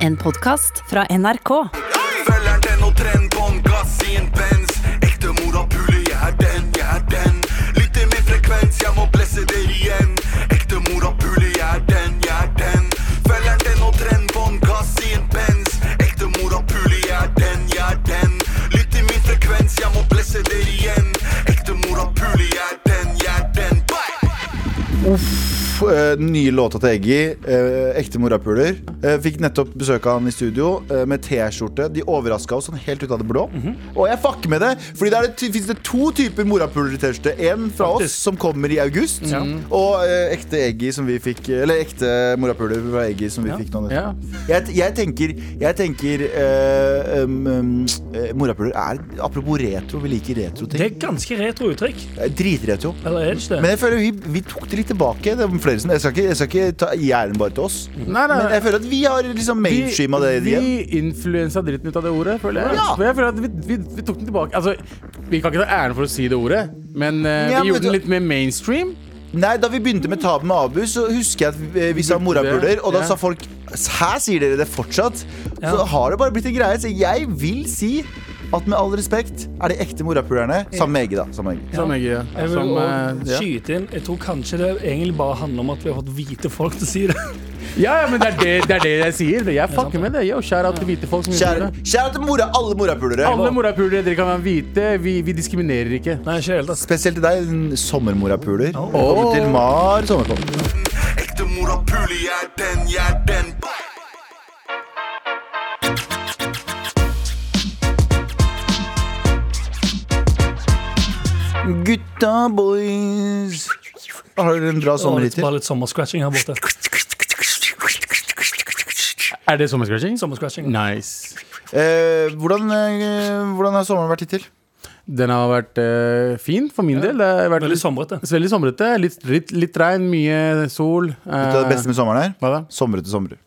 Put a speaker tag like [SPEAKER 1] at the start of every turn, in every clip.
[SPEAKER 1] En podkast fra NRK.
[SPEAKER 2] Følgeren den og trend bånd, gass i en Benz Ekte mor av pule, jeg er den, jeg er den Lytter med frekvens, jeg må blesse det igjen Ekte mor av pule, jeg er den, jeg er den Følgeren den og trend bånd, gass i en Benz Ekte mor av pule, jeg er den, jeg er den Lytter med frekvens, jeg må blesse det igjen Ekte mor av pule, jeg er den, jeg er den Bye!
[SPEAKER 3] Uff, eh, den nye låta til Eggy, eh, ekte morapuler. Eh, fikk nettopp besøk av han i studio eh, med T-skjorte. De overraska oss sånn helt ut av det blå.
[SPEAKER 4] Mhm.
[SPEAKER 3] Og jeg fucker med det! Fordi der det ty- finnes det to typer morapuler i T-skjorte. En fra oss, som kommer i august. Og eh, ekte Eggy som vi fikk Eller ekte morapuler fra Eggy som vi fikk nå.
[SPEAKER 4] Ja.
[SPEAKER 3] Jeg, jeg tenker, jeg tenker eh, um, um, eh, Morapuler er Apropos retro, vi liker
[SPEAKER 4] Det
[SPEAKER 3] retroting.
[SPEAKER 4] er ganske retro uttrykk.
[SPEAKER 3] Eh, Dritretro.
[SPEAKER 4] Eller er det ikke det?
[SPEAKER 3] Men jeg føler vi, vi tok det litt tilbake. Det var flere som, jeg, skal ikke, jeg skal ikke ta gi æren bare til oss.
[SPEAKER 5] Nei, nei,
[SPEAKER 3] Men jeg føler at vi har liksom mainstream av det
[SPEAKER 5] Vi,
[SPEAKER 3] igjen.
[SPEAKER 5] vi influensa dritten ut av det ordet, føler jeg.
[SPEAKER 3] Ja.
[SPEAKER 5] For jeg føler at vi, vi, vi tok den tilbake. Altså, vi kan ikke ta æren for å si det ordet, men eh,
[SPEAKER 3] Ja,
[SPEAKER 5] vi
[SPEAKER 3] men
[SPEAKER 5] gjorde den
[SPEAKER 3] så-
[SPEAKER 5] litt mer mainstream.
[SPEAKER 3] Nei, Da vi begynte med Tab med Abu, så husker jeg at vi, eh, vi sa morapuler. Og da
[SPEAKER 5] Ja.
[SPEAKER 3] sa folk Hæ, sier dere det fortsatt? Så har det bare blitt en greie. Så jeg vil si at med all respekt er de ekte morapulerne sammen med Egge, da. Sammen med Egge.
[SPEAKER 5] Som jeg, ja.
[SPEAKER 4] Jeg vil
[SPEAKER 5] sånn, Som,
[SPEAKER 4] også
[SPEAKER 5] eh, ja.
[SPEAKER 4] skyte inn. Jeg tror kanskje det egentlig bare handler om at vi har fått hvite folk til å si det.
[SPEAKER 5] ja, ja, men det er det, det er det jeg sier. Jeg fucker med det. Yo, kjære til hvite folk som gjør
[SPEAKER 3] Kjære,
[SPEAKER 5] det.
[SPEAKER 3] kjære til mora, alle morapulere.
[SPEAKER 5] Alle morapulere, dere kan være hvite. Vi, vi diskriminerer ikke.
[SPEAKER 4] Nei, ikke i det hele tatt.
[SPEAKER 3] Spesielt til deg, din sommermorapuler. Velkommen til Mar sommerpop.
[SPEAKER 2] Ekte mor av pule, jeg er den, jeg er den Bye!
[SPEAKER 3] Gutta boys. Har dere en bra
[SPEAKER 4] Og litt,
[SPEAKER 3] sommerhittil?
[SPEAKER 4] bare litt sommerscratching her borte.
[SPEAKER 5] Er det sommerscratching?
[SPEAKER 4] Sommerscratching.
[SPEAKER 5] Nice.
[SPEAKER 3] Eh, hvordan, eh, hvordan har sommeren vært hittil?
[SPEAKER 5] Den har vært eh, fin for min del. Det har vært
[SPEAKER 4] Veldig
[SPEAKER 5] litt,
[SPEAKER 4] somrete.
[SPEAKER 5] veldig somrete. Litt, litt, litt regn, mye sol. eh,
[SPEAKER 3] Vet du hva det beste med sommeren er?
[SPEAKER 5] Hva da?
[SPEAKER 3] Somrete somre.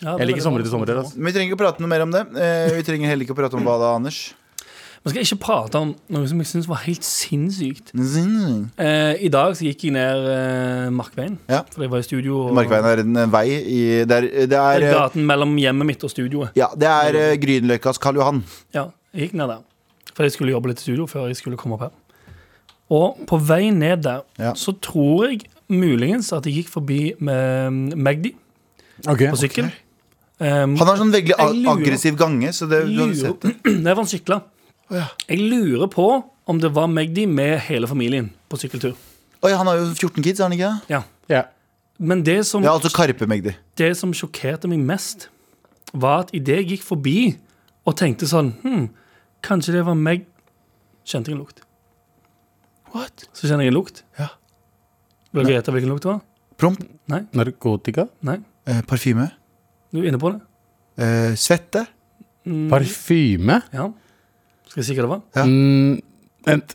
[SPEAKER 4] Ja, det er
[SPEAKER 5] Jeg
[SPEAKER 4] veldig
[SPEAKER 5] liker somre til
[SPEAKER 4] bra.
[SPEAKER 5] somre. Altså.
[SPEAKER 3] Men vi trenger ikke å prate noe mer om det. Eh, vi trenger heller ikke å prate om hva da, Anders?
[SPEAKER 4] Vi skal ikke prate om noe som jeg syns var helt sinnssykt.
[SPEAKER 3] Zing.
[SPEAKER 4] Eh, I dag så gikk jeg ned eh, Markveien,
[SPEAKER 3] Ja.
[SPEAKER 4] for jeg var i studio. Og,
[SPEAKER 3] Markveien er en en vei i Det er, det er, eh,
[SPEAKER 4] Gaten mellom hjemmet mitt og studioet.
[SPEAKER 3] ja, det er eh, Grünerløkkas Karl Johan.
[SPEAKER 4] Ja, jeg gikk ned der. For jeg skulle jobbe litt i studio før jeg skulle komme opp her. Og på vei ned der
[SPEAKER 3] Ja.
[SPEAKER 4] så tror jeg muligens at jeg gikk forbi med Magdi på sykkel. Um,
[SPEAKER 3] Han har sånn veldig
[SPEAKER 4] Jeg
[SPEAKER 3] ag
[SPEAKER 4] lurer-
[SPEAKER 3] aggressiv gange, så det du har
[SPEAKER 4] lurer,
[SPEAKER 3] sett det.
[SPEAKER 4] det var han sykla. Jeg lurer på om det var Magdi med hele familien på sykkeltur.
[SPEAKER 3] Oi, han har jo 14 kids, har han ikke? det?
[SPEAKER 4] Ja.
[SPEAKER 5] Ja.
[SPEAKER 4] Men det som,
[SPEAKER 3] Ja, altså Karpe Magdi.
[SPEAKER 4] det som sjokkerte meg mest, var at idet jeg gikk forbi og tenkte sånn hm, Kanskje det var meg Kjente jeg en lukt.
[SPEAKER 5] What?
[SPEAKER 4] Så kjenner jeg en lukt.
[SPEAKER 3] Ja.
[SPEAKER 4] Vil dere gjette hvilken lukt det var?
[SPEAKER 3] Promp.
[SPEAKER 5] Narkotika?
[SPEAKER 4] Nei?
[SPEAKER 3] Eh, parfyme.
[SPEAKER 4] Du er inne på det?
[SPEAKER 3] Eh, svette.
[SPEAKER 5] Parfyme?
[SPEAKER 4] Ja. Skal jeg si hva det var?
[SPEAKER 3] Ja.
[SPEAKER 5] Mm, vent.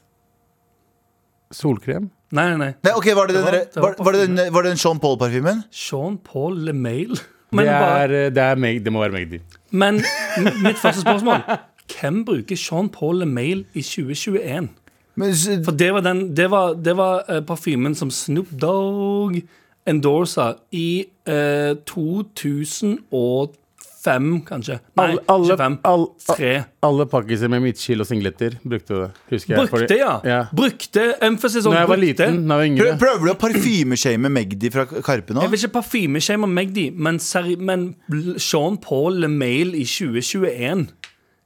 [SPEAKER 5] Solkrem?
[SPEAKER 4] Nei, nei, nei.
[SPEAKER 3] Nei, ok, Var det den,
[SPEAKER 4] Det var-
[SPEAKER 3] der-
[SPEAKER 4] det var
[SPEAKER 3] var, var det den, var det den Sean Paul-parfymen?
[SPEAKER 4] Sean Paul LeMail.
[SPEAKER 5] Det,
[SPEAKER 4] Men, bare,
[SPEAKER 5] er, det, er meg, det må være Magdi.
[SPEAKER 4] men m- mitt første spørsmål Hvem bruker Sean Paul LeMail i 2021?
[SPEAKER 3] Men s-
[SPEAKER 4] For det var, den, det var, det var eh, parfymen som Snoop Dogg endorsa i eh, 2005, kanskje. Nei,
[SPEAKER 5] Alle- alle-
[SPEAKER 4] 25.
[SPEAKER 5] alle-
[SPEAKER 4] Tre.
[SPEAKER 5] Alle pakkiser med midtskill og singletter brukte det. Husker jeg.
[SPEAKER 4] Brukte, ja. Brukte. Emphasis on
[SPEAKER 5] Når jeg var
[SPEAKER 4] brukte.
[SPEAKER 5] liten, da jeg var
[SPEAKER 3] Prø-
[SPEAKER 5] yngre.
[SPEAKER 3] Prøver du å parfymeshame Magdi fra Karpe nå?
[SPEAKER 4] Jeg vil ikke parfymeshame Magdi, men, seri men bl- Sean Paul LeMail i 2021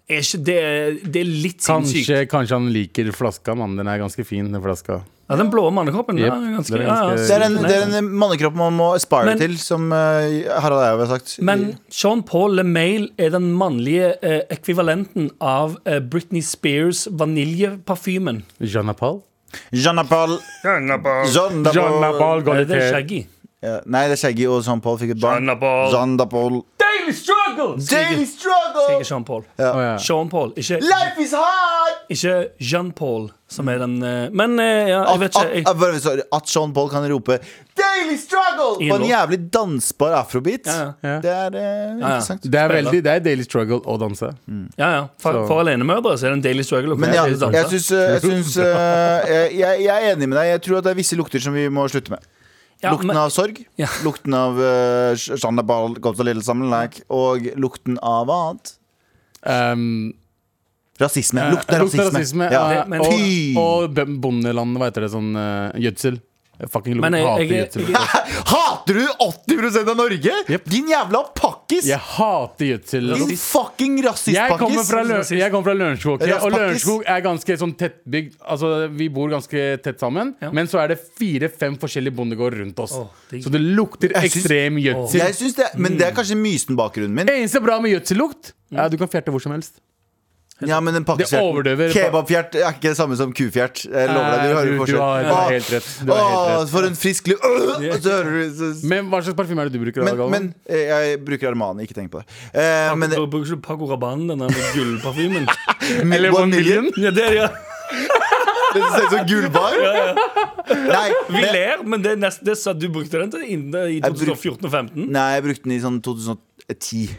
[SPEAKER 4] er ikke, det, er, det er litt sinnssykt.
[SPEAKER 5] Kanskje, kanskje han liker flaska, mann. Den er ganske fin, den flaska.
[SPEAKER 4] Ja, den blå mannekroppen.
[SPEAKER 5] Jep,
[SPEAKER 4] ja, den er ganske,
[SPEAKER 5] den er
[SPEAKER 4] ja, ja.
[SPEAKER 5] ganske-
[SPEAKER 3] Det er en, det er en mannekropp man må aspire
[SPEAKER 4] Men-
[SPEAKER 3] til, som eh, Harald Eihaug har sagt.
[SPEAKER 4] Men Sean Paul LeMail er den mannlige eh, ekvivalenten av eh, Britney Spears vaniljeparfymen.
[SPEAKER 5] Jean Paul?
[SPEAKER 3] Jean-Napal
[SPEAKER 5] Jean Paul
[SPEAKER 4] Er Eh, det
[SPEAKER 5] Gaultier.
[SPEAKER 4] Shaggy?
[SPEAKER 3] ja, Nei, det er Shaggy og Jean Paul fikk et barn.
[SPEAKER 4] Jean-Paul.
[SPEAKER 3] Jean-Napal
[SPEAKER 4] Daily struggle!
[SPEAKER 3] Daily struggle!
[SPEAKER 4] Ikke Sean Paul.
[SPEAKER 5] Å, ja.
[SPEAKER 4] Sean Paul, ikke,
[SPEAKER 3] Life is hard!
[SPEAKER 4] ikke Jean Paul, som er den eh, Men eh, ja, jeg
[SPEAKER 3] At,
[SPEAKER 4] vet ikke.
[SPEAKER 3] at,
[SPEAKER 4] Jeg,
[SPEAKER 3] at, bare- sorry, at Sean Paul kan rope 'Daily struggle!'
[SPEAKER 4] I en
[SPEAKER 3] på en
[SPEAKER 4] låt.
[SPEAKER 3] jævlig dansbar afrobeat.
[SPEAKER 4] Ja,
[SPEAKER 5] ja.
[SPEAKER 3] Det er eh, interessant.
[SPEAKER 5] Det er veldig, det er daily struggle å danse.
[SPEAKER 4] Ja, ja. For,
[SPEAKER 5] Så-
[SPEAKER 4] for alenemødre så er det en daily struggle. å
[SPEAKER 3] ah. Men
[SPEAKER 4] komme
[SPEAKER 3] ja,
[SPEAKER 4] til å danse.
[SPEAKER 3] jeg syns, eh, jeg, syns eh, jeg, jeg, jeg er enig med deg. Jeg tror at det er visse lukter som vi må slutte med.
[SPEAKER 4] Ja,
[SPEAKER 3] lukten
[SPEAKER 4] men-
[SPEAKER 3] av sorg.
[SPEAKER 4] Ja.
[SPEAKER 3] Lukten av uh, Shandabal Gold og Little Sammenlek. Og lukten av hva annet?
[SPEAKER 5] Um,
[SPEAKER 3] Rasisme.
[SPEAKER 5] eh,
[SPEAKER 3] Lukten av
[SPEAKER 5] lukten av
[SPEAKER 3] rasisme.
[SPEAKER 5] rasisme.
[SPEAKER 3] Ja.
[SPEAKER 5] eh,
[SPEAKER 4] Det- men-
[SPEAKER 3] Fy!
[SPEAKER 5] og og bø- bondeland, hva heter det, sånn eh, gjødsel. Jeg fucking
[SPEAKER 4] Men
[SPEAKER 5] lukter,
[SPEAKER 4] jeg-
[SPEAKER 5] hater
[SPEAKER 4] jeg-
[SPEAKER 5] gjødsel.
[SPEAKER 4] jeg-
[SPEAKER 3] Hater du 80 av Norge?
[SPEAKER 5] Jep.
[SPEAKER 3] Din jævla pakkis!
[SPEAKER 5] Jeg hater gjødsel.
[SPEAKER 3] Din fucking
[SPEAKER 5] Jeg kommer
[SPEAKER 3] rasistpakkis!
[SPEAKER 5] fra, Lø- jeg kommer fra Lørenskog,
[SPEAKER 3] Raspakkis.
[SPEAKER 5] og Lørenskog er ganske sånn tettbygd. Altså, vi bor ganske tett sammen,
[SPEAKER 4] Ja.
[SPEAKER 5] men så er det fire-fem forskjellige bondegård rundt oss.
[SPEAKER 4] Åh, digg.
[SPEAKER 5] så det lukter
[SPEAKER 3] Jeg syns-
[SPEAKER 5] ekstrem gjødsel.
[SPEAKER 3] Jeg syns det,
[SPEAKER 5] Mm.
[SPEAKER 3] men det er kanskje mysen-bakgrunnen min.
[SPEAKER 5] Eneste bra med gjødsellukt
[SPEAKER 4] Mm.
[SPEAKER 5] Ja, du kan fjerte hvor som helst.
[SPEAKER 3] Ja, men den
[SPEAKER 5] Det overdøver-
[SPEAKER 3] pakkefjerten Kebabfjert er ikke det samme som kufjert. Jeg lover deg, du
[SPEAKER 5] Eh,
[SPEAKER 3] hører
[SPEAKER 5] du-
[SPEAKER 3] forskjell.
[SPEAKER 5] du har- du har
[SPEAKER 3] Åh,
[SPEAKER 5] helt rett. Du har helt
[SPEAKER 3] åh,
[SPEAKER 5] rett.
[SPEAKER 3] For en frisk lyd Øh, og Så hører du så,
[SPEAKER 5] Men hva slags parfyme er det du bruker?
[SPEAKER 3] men,
[SPEAKER 5] Men,
[SPEAKER 3] men eh, jeg bruker Armani, ikke tenk på det. Eh, men
[SPEAKER 4] Du bruker ikke Paco Rabanne, den der med gullparfymen?
[SPEAKER 5] Eller One Million?
[SPEAKER 4] ja, det er det, ja.
[SPEAKER 3] Det ser ut som gullbar. Nei,
[SPEAKER 4] Vi
[SPEAKER 3] men-
[SPEAKER 4] ler, men det er nesten det sa du brukte den til innen- i
[SPEAKER 3] bruk-
[SPEAKER 4] 2014 og 2015.
[SPEAKER 3] nei, jeg brukte den i sånn 2010.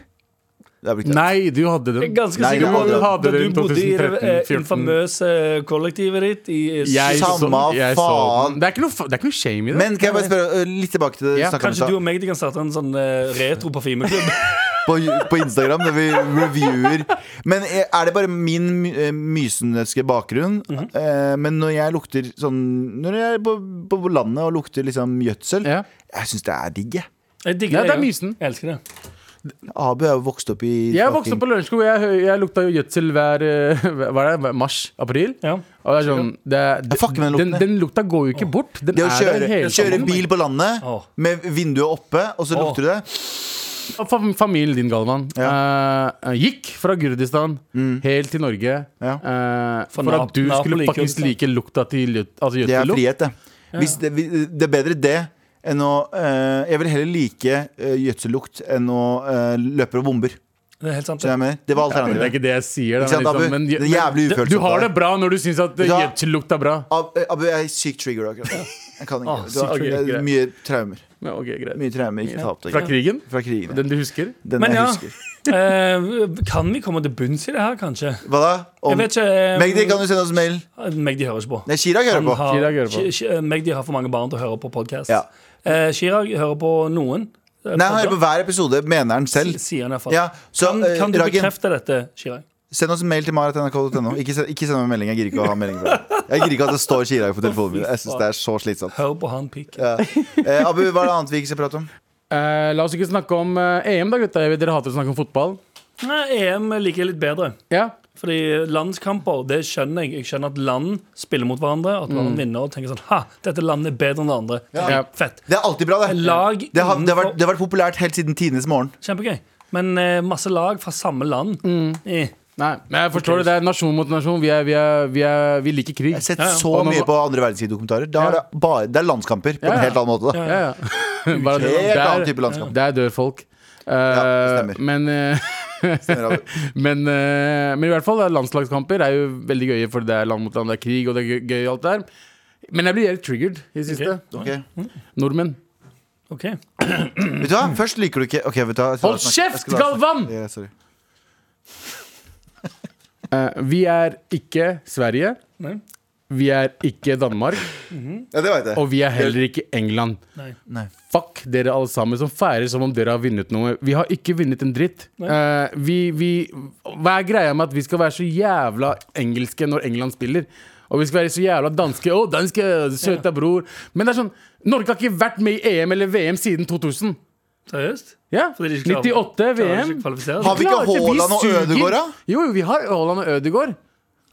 [SPEAKER 3] Da brukte jeg den.
[SPEAKER 5] Nei, du hadde
[SPEAKER 4] Jeg er
[SPEAKER 5] den.
[SPEAKER 4] ganske
[SPEAKER 3] Nei,
[SPEAKER 4] sikker
[SPEAKER 3] det
[SPEAKER 4] på
[SPEAKER 3] hadde-
[SPEAKER 4] at da
[SPEAKER 5] hadde
[SPEAKER 4] du
[SPEAKER 5] den
[SPEAKER 4] bodde i det eh,
[SPEAKER 5] 2013-14.
[SPEAKER 4] infamøse eh, kollektivet ditt i eh,
[SPEAKER 5] Jeg så-
[SPEAKER 3] Samme
[SPEAKER 5] jeg så den.
[SPEAKER 3] faen.
[SPEAKER 5] Det er ikke noe, fa- det er ikke noe shame i det.
[SPEAKER 3] Men kan jeg bare spørre eh, litt tilbake til det vi
[SPEAKER 5] Ja,
[SPEAKER 3] snakket om i
[SPEAKER 4] Kanskje
[SPEAKER 3] stad.
[SPEAKER 4] du og meg de kan starte en sånn eh, retro-parfymeklubb?
[SPEAKER 3] på, på Instagram når vi reviewer. Men er er det bare min my- eh, mysenske bakgrunn?
[SPEAKER 5] Mhm.
[SPEAKER 3] Eh, Men når jeg lukter sånn Når jeg er på, på landet og lukter liksom gjødsel,
[SPEAKER 5] Ja.
[SPEAKER 3] jeg syns det er digg, jeg.
[SPEAKER 4] Jeg digger
[SPEAKER 5] Ja, det er
[SPEAKER 4] jeg.
[SPEAKER 5] mysen.
[SPEAKER 4] Jeg elsker det.
[SPEAKER 3] Abu er jo vokst opp i
[SPEAKER 5] Jeg vokste opp på
[SPEAKER 3] fucking-
[SPEAKER 5] Lørenskog. Jeg, hø- jeg lukta jo gjødsel hver eh, Hva er det? Hver- Mars? April?
[SPEAKER 4] Ja.
[SPEAKER 5] Og det er sånn det,
[SPEAKER 3] Jeg fucker med den
[SPEAKER 5] den,
[SPEAKER 3] lukten, jeg.
[SPEAKER 5] den lukta går jo ikke bort. Den
[SPEAKER 3] Det å
[SPEAKER 5] er der
[SPEAKER 3] kjøre,
[SPEAKER 5] hele
[SPEAKER 3] kjøre
[SPEAKER 5] tiden.
[SPEAKER 3] bil på landet
[SPEAKER 4] Åh.
[SPEAKER 3] med vinduet oppe, og så
[SPEAKER 4] Åh.
[SPEAKER 3] lukter du det.
[SPEAKER 5] Og fam- Familien din, Galvan, eh, gikk fra Gurdistan helt til Norge
[SPEAKER 3] Mm. Ja.
[SPEAKER 5] eh,
[SPEAKER 4] For
[SPEAKER 5] for,
[SPEAKER 4] Nap-
[SPEAKER 5] at du
[SPEAKER 4] Napoli,
[SPEAKER 5] skulle faktisk
[SPEAKER 4] Kurdistan.
[SPEAKER 5] like lukta til gjød- altså
[SPEAKER 3] Det er
[SPEAKER 5] gjødsellukt.
[SPEAKER 3] frihet, det. Hvis det, vi- det er bedre det enn å eh, Jeg vil heller like eh, gjødsellukt enn å eh, løpe og bomber.
[SPEAKER 4] Det er helt sant.
[SPEAKER 3] Skjønner du hva jeg mener? Det var
[SPEAKER 5] Men Det er
[SPEAKER 3] alternativet.
[SPEAKER 5] ikke det jeg sier.
[SPEAKER 3] Ikke sant,
[SPEAKER 5] da,
[SPEAKER 3] Abu?
[SPEAKER 5] men
[SPEAKER 3] Det
[SPEAKER 5] liksom,
[SPEAKER 3] er
[SPEAKER 5] men,
[SPEAKER 3] jævlig
[SPEAKER 5] men,
[SPEAKER 3] ufølsomt
[SPEAKER 5] du
[SPEAKER 3] av
[SPEAKER 5] har det
[SPEAKER 3] deg.
[SPEAKER 5] bra når du syns at eh,
[SPEAKER 3] Ja.
[SPEAKER 5] gjødsellukt er bra.
[SPEAKER 3] Ab eh, Abu, jeg er sykt triggered akkurat. Jeg kan ikke.
[SPEAKER 4] Ah,
[SPEAKER 3] Du har,
[SPEAKER 5] sykt triggered,
[SPEAKER 3] det er
[SPEAKER 5] greit.
[SPEAKER 3] mye traumer.
[SPEAKER 5] Ja, ok, greit.
[SPEAKER 3] Mye traumer ikke ta opp det.
[SPEAKER 5] Fra krigen?
[SPEAKER 3] Fra krigen. ja.
[SPEAKER 5] Den du husker?
[SPEAKER 3] Den
[SPEAKER 4] Men
[SPEAKER 3] jeg
[SPEAKER 4] ja,
[SPEAKER 3] husker.
[SPEAKER 4] eh, kan vi komme til bunns i det her, kanskje?
[SPEAKER 3] Hva da? Om-
[SPEAKER 4] Jeg vet ikke eh, Ah,
[SPEAKER 3] Magdi, kan du sende oss mail?
[SPEAKER 4] Magdi hører ikke på.
[SPEAKER 3] Nei, Chirag hører
[SPEAKER 4] Han
[SPEAKER 3] på.
[SPEAKER 4] har-
[SPEAKER 5] Chirag hører på.
[SPEAKER 4] Chi- Chi- Magdi har for mange barn til å høre på podkast.
[SPEAKER 3] Ja.
[SPEAKER 4] Eh, Chirag hører på noen. eh,
[SPEAKER 3] Nei, han hører på
[SPEAKER 4] podkast.
[SPEAKER 3] hver episode, mener han selv.
[SPEAKER 4] S- Sier han i hvert fall.
[SPEAKER 3] Ja, så
[SPEAKER 4] kan,
[SPEAKER 3] eh,
[SPEAKER 4] kan du
[SPEAKER 3] Ragen,
[SPEAKER 4] bekrefte dette, Chirag?
[SPEAKER 3] send oss en mail til marat.nrk.no. Ikke, send- ikke send meg melding. Jeg gidder ikke å ha melding fra deg. Jeg gidder ikke at det står Chirag på telefonen min. Jeg synes det er så slitsomt.
[SPEAKER 4] Hør på han pikk.
[SPEAKER 3] Ja. Eh, Abu, hva er det annet vi ikke skal prate om?
[SPEAKER 5] Eh, la oss ikke snakke om eh, EM, da, gutta. Jeg vet Dere hater å snakke om fotball.
[SPEAKER 4] Nei, EM liker jeg litt bedre.
[SPEAKER 5] Ja,
[SPEAKER 4] Fordi landskamper, det skjønner jeg. Jeg skjønner at land spiller mot hverandre. At land vinner og tenker sånn Ha, dette landet er bedre enn det andre.
[SPEAKER 5] Mm. Ja.
[SPEAKER 4] Fett.
[SPEAKER 3] Det er alltid bra, det.
[SPEAKER 4] Lag
[SPEAKER 3] Det har, det har, vært,
[SPEAKER 4] innenfor-
[SPEAKER 3] det har vært populært helt siden tidenes morgen.
[SPEAKER 4] Kjempegøy. Men eh, masse lag fra samme land
[SPEAKER 5] Mm.
[SPEAKER 4] eh.
[SPEAKER 5] Nei, men jeg forstår det. Det er nasjon mot nasjon. Vi, er, vi, er, vi, er, vi liker krig.
[SPEAKER 3] Jeg har sett
[SPEAKER 4] Ja, ja.
[SPEAKER 3] så
[SPEAKER 5] Og nå-
[SPEAKER 3] mye på andre verdenskrig-dokumentarer. Da er det, bare, det er landskamper på
[SPEAKER 5] Ja,
[SPEAKER 3] en
[SPEAKER 5] ja.
[SPEAKER 3] helt annen måte. Da.
[SPEAKER 5] Ja, ja. Bare det-
[SPEAKER 3] Helt
[SPEAKER 5] der-
[SPEAKER 3] annen type landskap.
[SPEAKER 5] Der dør folk. Eh,
[SPEAKER 3] Ja, det stemmer.
[SPEAKER 5] men, eh,
[SPEAKER 3] Stemmer, Abu.
[SPEAKER 5] men, eh, men i hvert fall, det er landslagskamper er jo veldig gøye, for det er land mot land, det er krig, og det er gøy- gøy alt der. Men jeg blir helt triggered i det siste.
[SPEAKER 3] Ok.
[SPEAKER 5] Mm. Nordmenn.
[SPEAKER 4] OK.
[SPEAKER 3] Vet du hva? Først liker du ikke Ok, vet du hva? Jeg skal
[SPEAKER 5] Hold
[SPEAKER 3] la deg snakke. Jeg
[SPEAKER 5] kjeft,
[SPEAKER 3] skal la deg snakke.
[SPEAKER 5] Galvan!
[SPEAKER 3] Det er greit, sorry.
[SPEAKER 5] Eh, vi er ikke Sverige.
[SPEAKER 4] Nei.
[SPEAKER 5] Vi er ikke Danmark.
[SPEAKER 3] Ja, det vet jeg.
[SPEAKER 5] Og vi er heller ikke England.
[SPEAKER 4] Nei.
[SPEAKER 3] Nei.
[SPEAKER 5] Fuck dere alle sammen som feirer som om dere har vunnet noe. Vi har ikke vunnet en dritt. Eh, vi, vi, hva er greia med at vi skal være så jævla engelske når England spiller? Og vi skal være så jævla danske. Å, danske, søta bror. Men det er sånn, Norge har ikke vært med i EM eller VM siden 2000.
[SPEAKER 4] Seriøst?
[SPEAKER 5] Ja,
[SPEAKER 4] Fordi de ikke klarer-
[SPEAKER 5] 98
[SPEAKER 4] klarer
[SPEAKER 5] VM.
[SPEAKER 4] ikke å kvalifisere
[SPEAKER 3] Har
[SPEAKER 4] seg.
[SPEAKER 3] vi ikke
[SPEAKER 5] Klarer ikke, vi
[SPEAKER 3] Haaland og
[SPEAKER 5] suger.
[SPEAKER 3] Ødegaard, da?
[SPEAKER 5] Jo, jo, vi har Haaland og Ødegaard.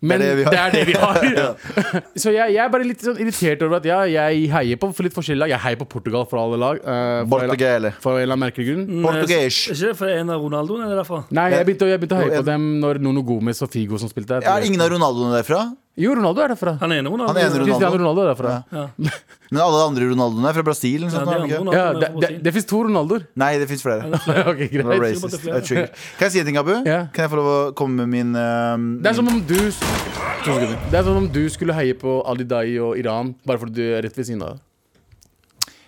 [SPEAKER 5] Men
[SPEAKER 3] Det
[SPEAKER 5] det
[SPEAKER 3] er det vi har.
[SPEAKER 5] er det vi har. Så jeg, jeg er bare litt sånn irritert over at ja, jeg heier på litt forskjellige lag. Jeg heier på Portugal for alle lag. eh, for en-
[SPEAKER 3] Portugale.
[SPEAKER 5] For en eller annen merkelig grunn.
[SPEAKER 3] Portugisish.
[SPEAKER 4] Ikke for en av Ronaldoene er derfra?
[SPEAKER 5] Nei, jeg begynte, jeg begynte å
[SPEAKER 3] Jo,
[SPEAKER 5] høye
[SPEAKER 3] en-
[SPEAKER 5] på dem når Nono Gomez og Figo som spilte der.
[SPEAKER 3] Er ingen av Ronaldoene derfra?
[SPEAKER 5] Jo, Ronaldo er derfra.
[SPEAKER 4] Han ene Ronaldo.
[SPEAKER 3] Han ene Ronaldo.
[SPEAKER 5] Cristiano Ronaldo er derfra.
[SPEAKER 3] Ja. Men alle de andre Ronaldoene er fra Brasil? eller noe
[SPEAKER 4] Ja,
[SPEAKER 3] sånt, er
[SPEAKER 4] de
[SPEAKER 3] det
[SPEAKER 4] andre
[SPEAKER 3] ikke?
[SPEAKER 4] Ronaldoene
[SPEAKER 5] Ja,
[SPEAKER 4] er
[SPEAKER 5] det,
[SPEAKER 4] fra
[SPEAKER 5] det,
[SPEAKER 4] Brasil.
[SPEAKER 5] det fins to Ronaldoer.
[SPEAKER 3] Nei, det fins flere. Det
[SPEAKER 5] ok, greit.
[SPEAKER 3] var
[SPEAKER 4] Jeg er sikker på at
[SPEAKER 3] racist.
[SPEAKER 4] det er flere.
[SPEAKER 3] Jeg er trigger. Kan jeg si en ting, Abu?
[SPEAKER 5] Ja.
[SPEAKER 3] Kan jeg få lov å komme med min ehm,
[SPEAKER 5] Det er som om du s- To sekunder. Det er som om du skulle heie på Ali Dai og Iran bare fordi du er rett ved siden av.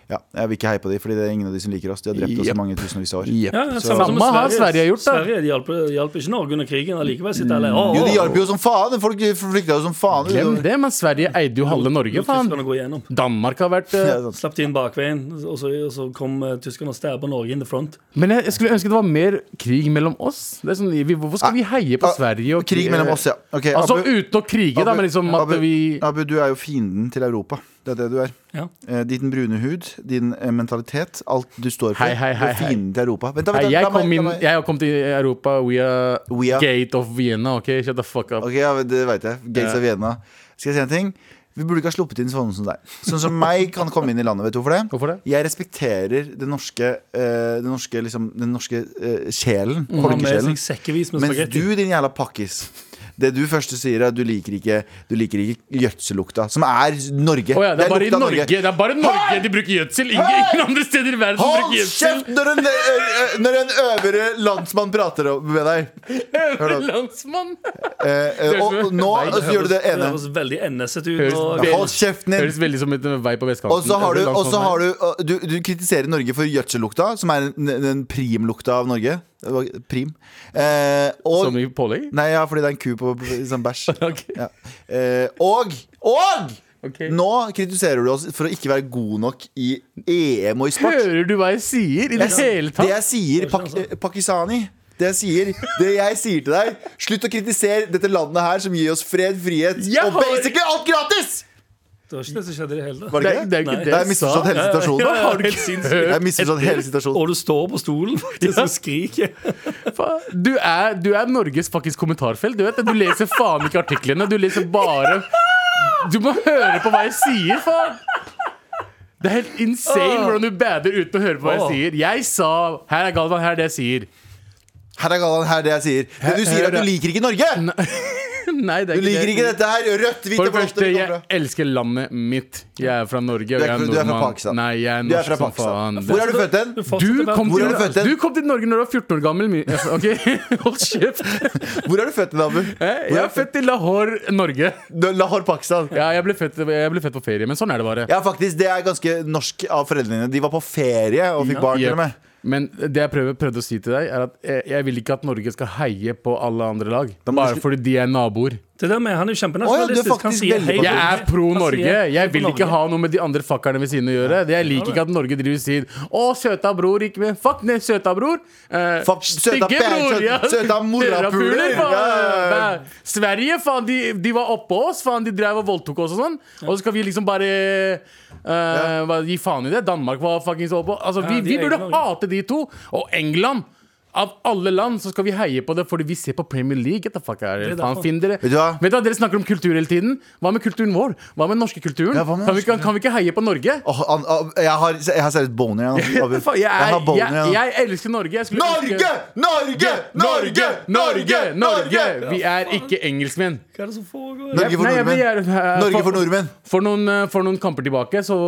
[SPEAKER 3] Ja, jeg vil ikke heie på de, fordi det er ingen av de som liker oss. De har drept oss
[SPEAKER 5] Jepp.
[SPEAKER 3] i mange tusenvis av år.
[SPEAKER 5] Jepp.
[SPEAKER 4] Ja, ja, samme som
[SPEAKER 5] Samme
[SPEAKER 4] i
[SPEAKER 5] har Sverige gjort, da. Mm.
[SPEAKER 4] Sverige de hjalp, hjalp ikke Norge under krigen. Allikevel sitter alle oh,
[SPEAKER 3] Jo, de hjalp jo som faen! Folk flykta jo som faen.
[SPEAKER 5] Glem det, men Sverige eide jo halve Norge, faen.
[SPEAKER 4] Tyskerne går igjennom.
[SPEAKER 5] Danmark har vært
[SPEAKER 3] Ja,
[SPEAKER 5] eh,
[SPEAKER 3] sant.
[SPEAKER 4] Slapp de inn bakveien, og så, og så kom eh, tyskerne og stabba Norge in the front.
[SPEAKER 5] Men jeg, jeg skulle ønske det var mer krig mellom oss. Det er sånn, vi, hvorfor skal vi heie på
[SPEAKER 3] Ah,
[SPEAKER 5] Sverige og
[SPEAKER 3] Krig mellom oss, ja. Ok,
[SPEAKER 5] Altså
[SPEAKER 3] Abu-
[SPEAKER 5] uten å krige, da,
[SPEAKER 3] Abu-
[SPEAKER 5] men liksom at
[SPEAKER 3] Abu,
[SPEAKER 5] vi
[SPEAKER 3] Abu, du er jo fienden til Europa. Det er det du er.
[SPEAKER 4] Ja.
[SPEAKER 3] Eh, Din brune hud, din eh, mentalitet, alt du står for.
[SPEAKER 5] Hei, hei, hei,
[SPEAKER 3] du er fienden til Europa. Vent, da,
[SPEAKER 5] Hei,
[SPEAKER 3] vent, da,
[SPEAKER 5] jeg,
[SPEAKER 3] la meg-
[SPEAKER 5] kom inn,
[SPEAKER 3] la meg-
[SPEAKER 5] jeg har kommet til Europa via
[SPEAKER 3] We are-
[SPEAKER 5] Gate of Vienna. Ok, shut the fuck up.
[SPEAKER 3] Ok, ja, det vet jeg. Gates of Vienna. Skal jeg si en ting? Vi burde ikke ha sluppet inn sånne som deg. Sånn som meg kan komme inn i landet. Vet du hvorfor det?
[SPEAKER 5] Hvorfor det?
[SPEAKER 3] Jeg respekterer den norske, eh, den norske, liksom, den norske eh, sjelen.
[SPEAKER 5] Mm.
[SPEAKER 4] Han har med
[SPEAKER 3] Folkesjelen.
[SPEAKER 4] seg sekkevis med
[SPEAKER 3] Mens
[SPEAKER 4] spagetti.
[SPEAKER 3] du, din jævla pakkis det du først sier er at du liker ikke Du liker ikke gjødselukta, som er Norge.
[SPEAKER 5] Å ja, det er bare i
[SPEAKER 3] lukta av
[SPEAKER 5] Norge Det er bare i Norge
[SPEAKER 3] Hei!
[SPEAKER 5] de bruker gjødsel. Ingen, ingen andre steder i verden
[SPEAKER 3] Hold
[SPEAKER 5] bruker gjødsel.
[SPEAKER 3] kjeft når en, ø- ø- når en øvre landsmann prater om- med deg. Hør da.
[SPEAKER 5] Landsmann.
[SPEAKER 3] Eh, eh, og nå så gjør du det
[SPEAKER 4] Det
[SPEAKER 3] ene.
[SPEAKER 4] høres veldig NS-et ut.
[SPEAKER 5] Høres
[SPEAKER 4] Og,
[SPEAKER 5] veldig-
[SPEAKER 3] Hold kjeften din.
[SPEAKER 5] Høres veldig som et eh, vei på vestkanten.
[SPEAKER 3] Og så har du,
[SPEAKER 5] Landsmann,
[SPEAKER 3] og så har
[SPEAKER 5] nei.
[SPEAKER 3] du, og du Du kritiserer Norge for gjødsellukta, som er den, den primlukta av Norge. Det var Prim. Eh, og
[SPEAKER 5] Som i pålegg?
[SPEAKER 3] Nei, ja, fordi det er en ku på i sånn bæsj.
[SPEAKER 5] Ok.
[SPEAKER 3] Ja. Eh, og og
[SPEAKER 5] Ok.
[SPEAKER 3] nå kritiserer du oss for å ikke være god nok i EM og i sport.
[SPEAKER 5] Hører du hva jeg sier? I det hele
[SPEAKER 3] Det
[SPEAKER 5] tatt?
[SPEAKER 3] jeg sier, pak eh, pakistani det jeg, sier, det jeg sier til deg Slutt å kritisere dette landet her som gir oss fred, frihet
[SPEAKER 5] Jeg
[SPEAKER 3] og
[SPEAKER 5] har-
[SPEAKER 3] basically alt gratis!
[SPEAKER 4] det var ikke det som skjedde i det hele
[SPEAKER 3] Var
[SPEAKER 4] tatt.
[SPEAKER 3] det
[SPEAKER 5] Det er-
[SPEAKER 3] ikke
[SPEAKER 5] det er
[SPEAKER 3] det?
[SPEAKER 5] ikke
[SPEAKER 3] Nei,
[SPEAKER 5] det
[SPEAKER 3] jeg har
[SPEAKER 5] jeg sa.
[SPEAKER 3] misforstått hele situasjonen.
[SPEAKER 4] Ja, helt sinnssykt.
[SPEAKER 3] Jeg har misforstått hele situasjonen.
[SPEAKER 4] Og du står på stolen faktisk og skriker.
[SPEAKER 5] Fa- Du er, du er Norges faktisk kommentarfelt. Du vet det. Du leser faen ikke artiklene. Du leser bare Du må høre på hva jeg sier, faen! Det er helt insane hvordan du bader uten å høre på hva jeg
[SPEAKER 4] Åh.
[SPEAKER 5] sier. Jeg sa Her er Galvan, her er det jeg sier.
[SPEAKER 3] Her er Galvan, her er det jeg sier. Men du
[SPEAKER 5] Her-
[SPEAKER 3] sier at
[SPEAKER 5] her
[SPEAKER 3] du
[SPEAKER 5] er-
[SPEAKER 3] liker ikke Norge!
[SPEAKER 5] Nei, det er
[SPEAKER 3] Du liker ikke dette her. Rødt, hvitt
[SPEAKER 5] For
[SPEAKER 3] og
[SPEAKER 5] det
[SPEAKER 3] blått.
[SPEAKER 5] første,
[SPEAKER 3] det kommer
[SPEAKER 5] jeg
[SPEAKER 3] fra.
[SPEAKER 5] elsker landet mitt. Jeg er fra Norge,
[SPEAKER 3] Du er
[SPEAKER 5] og jeg
[SPEAKER 3] fra-
[SPEAKER 5] er
[SPEAKER 3] du er fra
[SPEAKER 5] nordmann.
[SPEAKER 3] Pakistan.
[SPEAKER 5] Nei, jeg er
[SPEAKER 3] Du er
[SPEAKER 5] norsk
[SPEAKER 3] fra
[SPEAKER 5] som
[SPEAKER 3] Pakistan.
[SPEAKER 5] faen.
[SPEAKER 3] Hvor er du født hen?
[SPEAKER 4] Du fortsetter
[SPEAKER 5] Du
[SPEAKER 4] med-
[SPEAKER 5] kom,
[SPEAKER 3] Hvor er du født
[SPEAKER 5] til,
[SPEAKER 3] hen?
[SPEAKER 5] du kom til Norge når du var 14 år gammel. mi- Ok, Hold kjeft.
[SPEAKER 3] Hvor er du født hen, Abu?
[SPEAKER 5] Jeg er født i Lahore, Norge.
[SPEAKER 3] Du- Lahore, Pakistan.
[SPEAKER 5] Ja, jeg ble, født, jeg ble født på ferie, men sånn er det bare.
[SPEAKER 3] Ja, faktisk, det er ganske norsk av foreldrene dine. De var på ferie og fikk barn. til
[SPEAKER 5] Yep.
[SPEAKER 3] og med
[SPEAKER 5] Men det jeg prøver, prøvde å si til deg, er at jeg, jeg vil ikke at Norge skal heie på alle andre lag. Bare fordi de er naboer.
[SPEAKER 4] Det der med, han er jo
[SPEAKER 3] Å ja, du
[SPEAKER 4] kjempenasjonalistisk.
[SPEAKER 3] er
[SPEAKER 4] Han
[SPEAKER 3] faktisk
[SPEAKER 4] sier
[SPEAKER 3] veldig
[SPEAKER 4] hei.
[SPEAKER 3] på-
[SPEAKER 5] Jeg er pro
[SPEAKER 4] Han
[SPEAKER 5] Norge.
[SPEAKER 4] sier hei
[SPEAKER 5] Jeg
[SPEAKER 4] på
[SPEAKER 5] vil ikke
[SPEAKER 4] Norge.
[SPEAKER 5] ha noe med de andre fuckerne ved siden å gjøre. Jeg liker ikke at Norge driver sin Å, søta bror gikk med Fuck ned søta bror! Eh,
[SPEAKER 3] Fuck, søta
[SPEAKER 5] stygge
[SPEAKER 3] pen-
[SPEAKER 5] bror,
[SPEAKER 3] sø- søta morapuler,
[SPEAKER 5] Morapuler, faen.
[SPEAKER 3] ja, ja, ja.
[SPEAKER 5] Nei, Sverige, faen, de, de var oppå oss. Faen, de drev og voldtok oss og sånn. Og så skal vi liksom bare eh, hva, gi faen i det. Danmark var fuckings oppå. Altså,
[SPEAKER 4] Ja, de
[SPEAKER 5] vi, vi burde
[SPEAKER 4] egne Norge.
[SPEAKER 5] hate de to. Og England. Av alle land så skal vi heie på det fordi vi ser på Premier League. Get the fuck out of here.
[SPEAKER 4] Det er
[SPEAKER 5] Faen,
[SPEAKER 4] derfor.
[SPEAKER 5] finn dere.
[SPEAKER 3] Vet du hva?
[SPEAKER 5] Vet du hva, Dere snakker om kultur hele tiden. Hva med kulturen vår? Hva med den norske kulturen?
[SPEAKER 3] Ja, hva med
[SPEAKER 5] kan, vi, ikke- kan vi ikke heie på Norge?
[SPEAKER 3] Åh, han- ah, jeg har, jeg har seriøst boner igjen. Abu.
[SPEAKER 5] Faen, jeg,
[SPEAKER 3] Jeg har
[SPEAKER 5] er,
[SPEAKER 3] boner
[SPEAKER 5] jeg,
[SPEAKER 3] igjen.
[SPEAKER 5] jeg elsker Norge. Jeg skulle
[SPEAKER 3] Norge!
[SPEAKER 5] elske-
[SPEAKER 3] Norge! Norge!
[SPEAKER 5] Norge! Norge! Vi er ikke engelskmenn.
[SPEAKER 4] Hva er det som foregår?
[SPEAKER 3] Norge for
[SPEAKER 5] Nei, jeg
[SPEAKER 3] nordmenn.
[SPEAKER 5] blir- eh,
[SPEAKER 3] Norge for nordmenn.
[SPEAKER 5] For noen, eh, for noen kamper tilbake så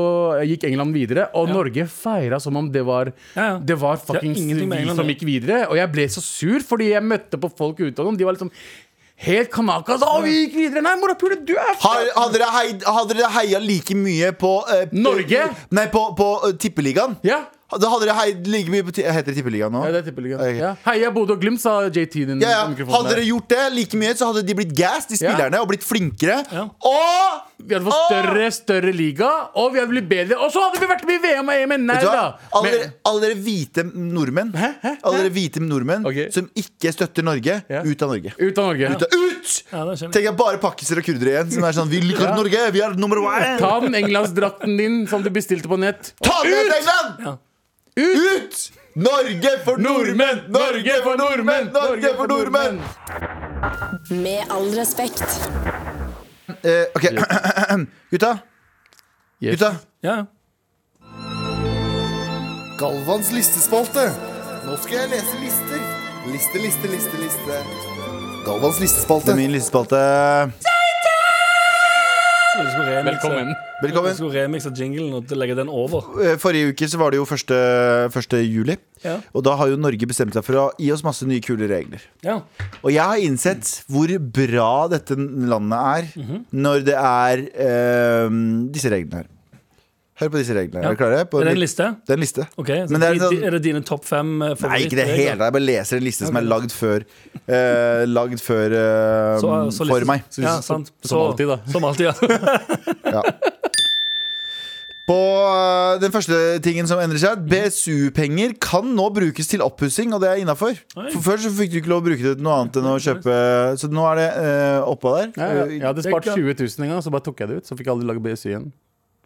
[SPEAKER 5] gikk England videre, og Norge feira som om det var
[SPEAKER 4] Ja, ja.
[SPEAKER 5] Det var fuckings
[SPEAKER 4] Det er ingenting med
[SPEAKER 5] vi
[SPEAKER 4] England,
[SPEAKER 5] som
[SPEAKER 4] det.
[SPEAKER 5] gikk videre. Og jeg ble så sur, fordi jeg møtte på folk utenom. De var liksom helt kanaka. Så, å, vi gikk videre! Nei, morapule, du er
[SPEAKER 3] Har, hadde, dere heid, hadde dere heia like mye på eh,
[SPEAKER 5] Norge?
[SPEAKER 3] Nei, på, på eh, Tippeligaen.
[SPEAKER 5] Ja.
[SPEAKER 3] Da hadde dere heid like mye på ti- Heter det Tippeligaen nå?
[SPEAKER 5] Ja, det er tippeligaen.
[SPEAKER 3] Ok.
[SPEAKER 5] Ja. Heia Bodø og Glimt, sa JT. Den
[SPEAKER 3] Ja, ja.
[SPEAKER 5] mikrofonen
[SPEAKER 3] Hadde
[SPEAKER 5] der.
[SPEAKER 3] dere gjort det like mye, så hadde de blitt gassed, de
[SPEAKER 5] Ja.
[SPEAKER 3] spillerne, og blitt flinkere.
[SPEAKER 4] Ja.
[SPEAKER 3] Og
[SPEAKER 5] Vi hadde fått større, større liga, og vi hadde blitt bedre. Og så hadde vi vært med i VM og EM! Nei
[SPEAKER 3] Vet du
[SPEAKER 5] da!
[SPEAKER 3] hva? Alle,
[SPEAKER 5] Men,
[SPEAKER 3] dere, alle dere hvite nordmenn Alle dere hvite nordmenn
[SPEAKER 5] Ok.
[SPEAKER 3] som ikke støtter Norge,
[SPEAKER 5] Ja.
[SPEAKER 3] ut av Norge.
[SPEAKER 5] ut av Norge.
[SPEAKER 3] Ut! ut!
[SPEAKER 4] Ja, det skjønner jeg.
[SPEAKER 3] Tenk jeg bare pakkiser og kurdere igjen. Som er sånn, Vi liker Norge! Vi er nummer one!
[SPEAKER 5] Ta den englandsdrakten din som du bestilte på nett.
[SPEAKER 3] Ta ned England!
[SPEAKER 4] Ja.
[SPEAKER 3] Ut! Norge for nordmenn! Norge for nordmenn! Norge for nordmenn!
[SPEAKER 1] Med all respekt.
[SPEAKER 3] Eh, ok, gutta.
[SPEAKER 5] Yes.
[SPEAKER 3] Gutta.
[SPEAKER 4] Ja, ja.
[SPEAKER 3] Galvans listespalte. Nå skal jeg lese lister. Liste, liste, liste, liste. Galvans listespalte. Det er min listespalte.
[SPEAKER 4] Du skulle remixe-
[SPEAKER 5] Velkommen.
[SPEAKER 4] Du
[SPEAKER 3] Velkommen.
[SPEAKER 4] skulle remixe jinglen og legge den over.
[SPEAKER 3] Eh, Forrige uke så var det jo 1. 1. juli.
[SPEAKER 4] Ja.
[SPEAKER 3] Og da har jo Norge bestemt seg for å gi oss masse nye kule regler.
[SPEAKER 4] Ja.
[SPEAKER 3] Og jeg har innsett hvor bra
[SPEAKER 4] Mhm.
[SPEAKER 3] dette landet er når det er eh, disse ehm, reglene her. Hør på disse reglene. Er dere klare? På
[SPEAKER 4] Er det en
[SPEAKER 3] litt-
[SPEAKER 4] liste?
[SPEAKER 3] Det er en liste.
[SPEAKER 4] Ok, så
[SPEAKER 3] Men det er en
[SPEAKER 4] di-
[SPEAKER 3] sånn-
[SPEAKER 4] di- er det dine topp fem eh,
[SPEAKER 3] Nei, ikke det
[SPEAKER 4] favorittregler?
[SPEAKER 3] hele. Jeg bare leser en liste som er lagd før eh, Lagd før eh,
[SPEAKER 4] Så- så
[SPEAKER 3] for
[SPEAKER 4] liste-
[SPEAKER 3] meg.
[SPEAKER 4] Ja, sant.
[SPEAKER 5] som alltid, da.
[SPEAKER 4] Som alltid, ja.
[SPEAKER 3] På eh, den første tingen som endrer seg, BSU-penger kan nå brukes til oppussing, og det er innafor.
[SPEAKER 4] Oi.
[SPEAKER 3] For før så fikk du ikke lov å bruke det til noe annet enn å kjøpe Så nå er det eh, oppå der.
[SPEAKER 5] Ja, ja. Jeg hadde
[SPEAKER 4] Det er
[SPEAKER 5] spart
[SPEAKER 4] klart.
[SPEAKER 5] 20 000 en gang, så bare tok jeg det ut. Så fikk jeg aldri lage BSU igjen.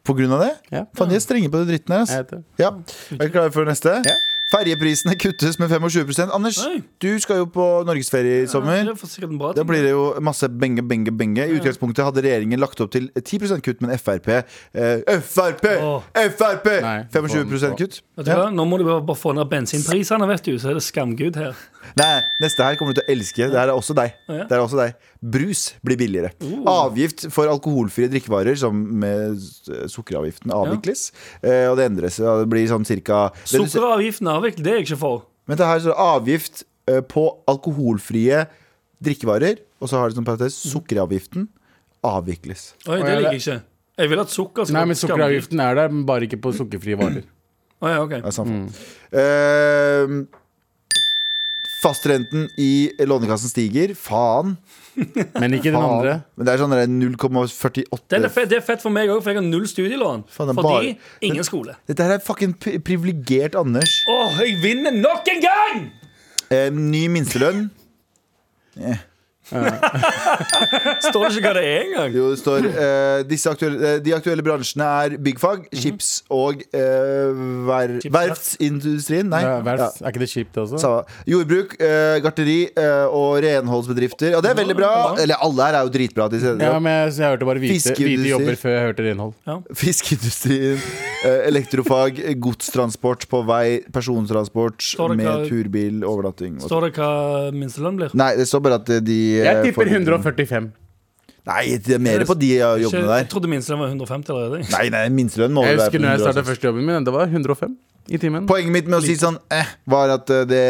[SPEAKER 3] På grunn av det?
[SPEAKER 5] Ja.
[SPEAKER 3] Faen, de er strenge på det dritten her.
[SPEAKER 5] Jeg
[SPEAKER 3] ass.
[SPEAKER 5] vet det.
[SPEAKER 3] Ja. Er du klar for neste?
[SPEAKER 5] Ja.
[SPEAKER 3] Ferjeprisene kuttes med 25 Anders,
[SPEAKER 4] Oi.
[SPEAKER 3] du skal jo på norgesferie i sommer.
[SPEAKER 4] Det er for sikkert en bra
[SPEAKER 3] Da
[SPEAKER 4] ting.
[SPEAKER 3] blir det jo masse benge, benge, benge. I utgangspunktet hadde regjeringen lagt opp til 10 kutt, men Frp eh, Frp!
[SPEAKER 4] Åh.
[SPEAKER 3] Frp!
[SPEAKER 5] Nei,
[SPEAKER 3] 25
[SPEAKER 5] faen.
[SPEAKER 3] kutt.
[SPEAKER 4] Vet du
[SPEAKER 3] Ja.
[SPEAKER 4] hva? Nå må du bare bare få ned bensinprisene, vet du, så er det skamgud her.
[SPEAKER 3] Nei, neste her kommer du til å elske. Det her er også deg.
[SPEAKER 4] Ja. Oh.
[SPEAKER 3] Det er også deg. Brus blir billigere. Avgift for alkoholfrie drikkevarer, som med s- eh, sukkeravgiften, avvikles. Eh, og det endres. Ja, det blir sånn cirka det du ser-
[SPEAKER 4] Sukkeravgiften er avviklet, det er jeg ikke for.
[SPEAKER 3] Men det her står avgift eh, på alkoholfrie drikkevarer, og så har det sånn parentes
[SPEAKER 4] Mhm.
[SPEAKER 3] sukkeravgiften avvikles.
[SPEAKER 4] Oi,
[SPEAKER 5] Å, ja,
[SPEAKER 4] det liker
[SPEAKER 5] det-
[SPEAKER 4] jeg ikke. Jeg vil at sukker skal
[SPEAKER 5] Nei, men
[SPEAKER 4] være skamgud.
[SPEAKER 5] Sukkeravgiften er der, men bare ikke på sukkerfrie varer.
[SPEAKER 4] Å, ja, ok.
[SPEAKER 3] Ja, samme faen.
[SPEAKER 4] Mm.
[SPEAKER 3] Eh, Fastrenten i lånekassen stiger. Faen.
[SPEAKER 5] Men ikke den
[SPEAKER 3] faen.
[SPEAKER 5] andre.
[SPEAKER 3] Men det er sånn der 0,48
[SPEAKER 4] Den er fett, det er fett for meg òg, for jeg har null studielån.
[SPEAKER 3] Faen, den
[SPEAKER 4] fordi
[SPEAKER 3] bare-
[SPEAKER 4] ingen skole.
[SPEAKER 3] Dette her er fucking pri- privilegert Anders.
[SPEAKER 4] Åh, jeg vinner nok en gang!
[SPEAKER 3] Eh, ny minstelønn.
[SPEAKER 4] Står det ikke hva det er engang?
[SPEAKER 3] Jo, det står eh, disse aktuelle, eh, De aktuelle bransjene er byggfag, chips og eh, ver,
[SPEAKER 4] Chips,
[SPEAKER 3] verftsindustrien. Nei.
[SPEAKER 5] Ja,
[SPEAKER 3] Ja,
[SPEAKER 5] verst. Er ikke det kjipt, det også?
[SPEAKER 3] samme. Jordbruk, eh, garteri eh, og renholdsbedrifter. Ja, det er veldig bra. Eller alle her er jo dritbra. til stede.
[SPEAKER 5] Ja, men jeg, så jeg hørte bare hvite, hvite
[SPEAKER 3] Fiskeindustri.
[SPEAKER 5] jobber før jeg hørte renhold.
[SPEAKER 3] Fiskeindustrien, eh, elektrofag, godstransport på vei, persontransport
[SPEAKER 4] Står det
[SPEAKER 3] med
[SPEAKER 4] hva-
[SPEAKER 3] turbil, overnatting og-
[SPEAKER 4] Står det hva minstelønn blir?
[SPEAKER 3] Nei, det står bare at eh, de eh,
[SPEAKER 5] Jeg tipper
[SPEAKER 3] får-
[SPEAKER 5] 145.
[SPEAKER 3] Nei, det er mer på de eh, jobbene
[SPEAKER 4] Ikke-
[SPEAKER 3] der.
[SPEAKER 4] Jeg trodde minstelønn var 150 allerede.
[SPEAKER 3] Nei, nei, minstelønn må
[SPEAKER 5] Jeg
[SPEAKER 3] vel være
[SPEAKER 5] husker
[SPEAKER 3] på
[SPEAKER 5] når jeg
[SPEAKER 3] 100
[SPEAKER 5] starta første jobben min, det var 105 i timen.
[SPEAKER 3] Poenget mitt med å si sånn eh, var at eh, det,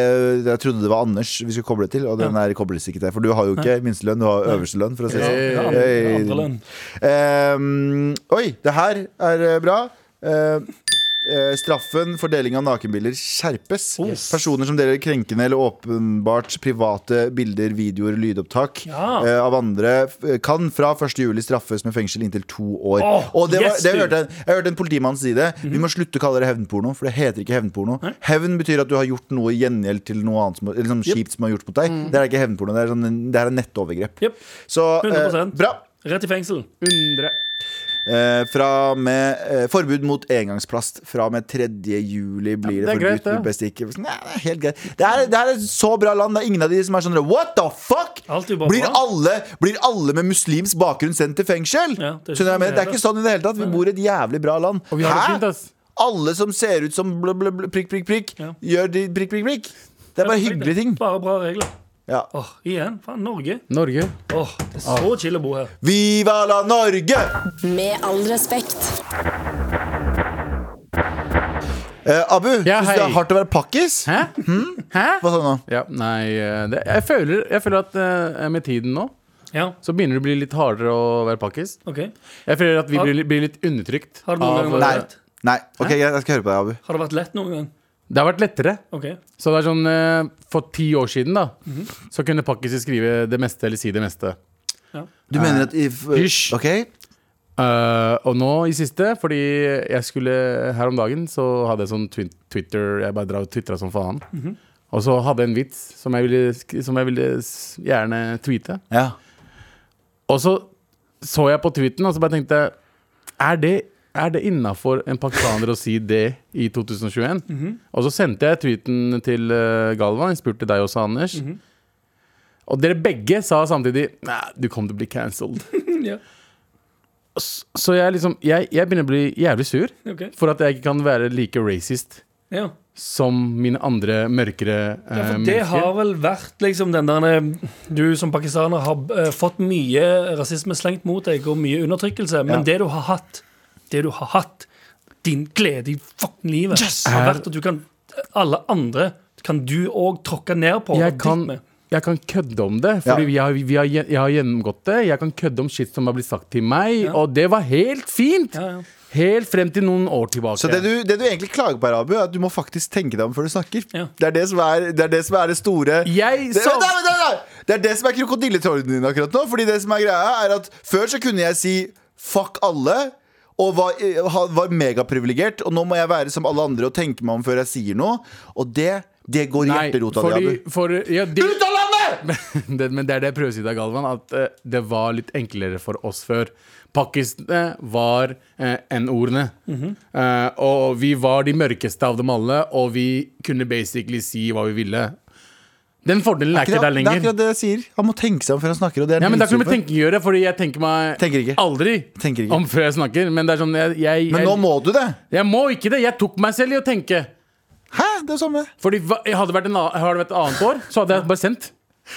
[SPEAKER 3] jeg trodde det var Anders vi skulle koble til, og den her kobles ikke til. For du har jo ikke minstelønn, du har øverste lønn, for å si det
[SPEAKER 5] Ja,
[SPEAKER 3] sånn.
[SPEAKER 5] ja,
[SPEAKER 3] Hey.
[SPEAKER 4] andre lønn.
[SPEAKER 3] Ehm, oi, det her er eh, bra. Ehm, eh, straffen for deling av nakenbilder skjerpes.
[SPEAKER 4] Yes.
[SPEAKER 3] Personer som deler krenkende eller åpenbart private bilder, videoer, lydopptak
[SPEAKER 4] Ja.
[SPEAKER 3] eh, av andre, f- kan fra 1.7 straffes med fengsel inntil to år.
[SPEAKER 4] Åh,
[SPEAKER 3] Og det var,
[SPEAKER 4] yes, Mhm.
[SPEAKER 3] det
[SPEAKER 4] dude.
[SPEAKER 3] hørte jeg, jeg hørte en politimann si det. Vi må slutte å kalle det hevnporno, for det heter ikke hevnporno. Hevn betyr at du har gjort noe i gjengjeld til noe annet som, eller sånn kjipt som har gjort mot deg. Det er ikke hevnporno, det er, sånn, det her er nettovergrep.
[SPEAKER 4] Mhm. Jep.
[SPEAKER 3] Så eh,
[SPEAKER 4] 100%.
[SPEAKER 3] bra.
[SPEAKER 4] Rett i fengsel.
[SPEAKER 5] 100.
[SPEAKER 3] Eh, fra med eh, forbud mot engangsplast. Fra og med 3. juli blir
[SPEAKER 5] Ja,
[SPEAKER 3] det,
[SPEAKER 5] det er greit,
[SPEAKER 3] forbudt
[SPEAKER 5] det.
[SPEAKER 3] med bestikk. Sånn, Nei, det er helt greit. Det er, det er et så bra land. Det er ingen av de som er sånn What the fuck?!
[SPEAKER 4] Alt er jo bare
[SPEAKER 3] Blir
[SPEAKER 4] bra.
[SPEAKER 3] alle, blir alle med muslimsk bakgrunn sendt til fengsel?
[SPEAKER 4] Ja, det er
[SPEAKER 3] Skjønner du hva jeg
[SPEAKER 4] ikke sånn
[SPEAKER 3] mener? Det er
[SPEAKER 4] det er,
[SPEAKER 3] ikke sånn i det hele tatt. Vi bor i et jævlig bra land.
[SPEAKER 5] Og vi har det fint, ass.
[SPEAKER 3] Alle som ser ut som blø, blø, blø, prikk, prikk, prikk,
[SPEAKER 4] Ja.
[SPEAKER 3] gjør de prikk, prikk, prikk. Det er bare hyggelige ting.
[SPEAKER 4] Bare bra regler.
[SPEAKER 3] Ja.
[SPEAKER 4] Åh, igjen. Faen, Norge.
[SPEAKER 5] Norge.
[SPEAKER 4] Åh, det er så chill å bo her.
[SPEAKER 3] Viva la Norge!
[SPEAKER 1] Med all respekt.
[SPEAKER 3] Eh, Abu,
[SPEAKER 5] Ja,
[SPEAKER 3] syns du det
[SPEAKER 5] hei.
[SPEAKER 3] er hardt å være pakkis?
[SPEAKER 5] Hæ? Hæ?
[SPEAKER 3] Hva sa du nå?
[SPEAKER 5] Ja, nei, eh, det, jeg, føler, jeg føler at eh, med tiden nå
[SPEAKER 4] Ja,
[SPEAKER 5] så begynner det å bli litt hardere å være pakkis.
[SPEAKER 4] ok.
[SPEAKER 5] Jeg føler at vi
[SPEAKER 4] Har-
[SPEAKER 5] blir, blir litt undertrykt.
[SPEAKER 4] Har det noen
[SPEAKER 5] av,
[SPEAKER 4] gang vært-
[SPEAKER 3] Nei.
[SPEAKER 4] Rett.
[SPEAKER 3] Nei. Ok, greit, jeg skal høre på deg, Abu.
[SPEAKER 4] Har det vært lett noen gang?
[SPEAKER 5] det har vært lettere.
[SPEAKER 4] Ok.
[SPEAKER 5] Så det er sånn eh, For ti år siden da
[SPEAKER 4] Mhm.
[SPEAKER 5] Så kunne pakkiser skrive det meste eller si det meste.
[SPEAKER 3] Du mener at if,
[SPEAKER 5] Hysj.
[SPEAKER 3] Ok,
[SPEAKER 5] Eh, og nå i siste, fordi jeg skulle her om dagen, så hadde jeg sånn twin, Twitter Jeg bare drar og twitra som faen.
[SPEAKER 4] Mhm.
[SPEAKER 5] Og så hadde jeg en vits som jeg ville, sk- som jeg ville s- gjerne tweete.
[SPEAKER 3] ja.
[SPEAKER 5] Og så så jeg på tweeten, og så bare tenkte jeg Er det, er det innafor en pakistaner å si det i 2021?
[SPEAKER 4] Mhm.
[SPEAKER 5] Og så sendte jeg tweeten til eh, Galvan. Jeg spurte deg også, Anders.
[SPEAKER 4] Mhm.
[SPEAKER 5] Og dere begge sa samtidig Nei, du kommer til å bli cancelled.
[SPEAKER 4] Mm, Ja,
[SPEAKER 5] S- så jeg liksom jeg, jeg begynner å bli jævlig sur
[SPEAKER 4] ok.
[SPEAKER 5] for at jeg ikke kan være like racist
[SPEAKER 4] Ja.
[SPEAKER 5] som mine andre mørkere eh,
[SPEAKER 4] Ja, for det
[SPEAKER 5] mennesker.
[SPEAKER 4] har vel vært liksom den der eh, Du som pakistaner har eh, fått mye rasisme slengt mot deg og mye undertrykkelse, men
[SPEAKER 3] Ja.
[SPEAKER 4] det du har hatt, det du har hatt, din glede i fucking
[SPEAKER 5] Eh.
[SPEAKER 4] livet, har vært at du kan Alle andre kan du òg tråkke ned på.
[SPEAKER 5] Jeg
[SPEAKER 4] og
[SPEAKER 5] kan
[SPEAKER 4] dritt med.
[SPEAKER 5] jeg kan kødde om det.
[SPEAKER 3] Ja.
[SPEAKER 5] Fordi vi har, vi har, gjen- jeg har gjennomgått det. Jeg kan kødde om shit som har blitt sagt til meg, og det var helt fint!
[SPEAKER 4] Ja, ja.
[SPEAKER 5] Helt frem til noen år tilbake.
[SPEAKER 3] Så det du, det du egentlig klager på, her, Abu, er at du må faktisk tenke deg om før du snakker.
[SPEAKER 4] Ja.
[SPEAKER 3] Det, er det, som er, det er det som er det store
[SPEAKER 5] Jeg
[SPEAKER 3] det,
[SPEAKER 5] som-
[SPEAKER 3] Vent da, vent da, vent da! det er det som er krokodilletårnen din akkurat nå. Fordi det som er greia er at Før så kunne jeg si fuck alle. Og var, eh, ha- var megaprivilegert. Og nå må jeg være som alle andre og tenke meg om før jeg sier noe. Og det, det går i
[SPEAKER 5] Nei,
[SPEAKER 3] hjerterota di,
[SPEAKER 5] fordi,
[SPEAKER 3] Abu. for...
[SPEAKER 5] for, ja, de,
[SPEAKER 3] Ut av landet!
[SPEAKER 5] det, men det er det jeg prøver å si deg, Galvan, at eh, det var litt enklere for oss før. Pakkisene var eh, N-ordene.
[SPEAKER 3] Mhm.
[SPEAKER 5] Eh, og vi var de mørkeste av dem alle, og vi kunne basically si hva vi ville. Den fordelen er,
[SPEAKER 3] Det
[SPEAKER 5] ikke
[SPEAKER 3] er
[SPEAKER 5] der lenger.
[SPEAKER 3] akkurat det jeg sier. Han må tenke seg om før han snakker. Og det er
[SPEAKER 5] Ja, men Det har ikke noe med
[SPEAKER 3] dritkjipt.
[SPEAKER 5] tenking å gjøre, Fordi jeg tenker meg
[SPEAKER 3] Tenker ikke.
[SPEAKER 5] aldri
[SPEAKER 3] Tenker ikke.
[SPEAKER 5] om før jeg snakker. Men det er sånn, jeg, jeg,
[SPEAKER 3] men
[SPEAKER 5] jeg,
[SPEAKER 3] nå må du det.
[SPEAKER 5] jeg må ikke det. Jeg tok meg selv i å tenke.
[SPEAKER 3] Hæ? Det er jo samme.
[SPEAKER 5] Fordi hva- jeg hadde vært en, annen- hadde det vært et annet år, så hadde jeg bare sendt.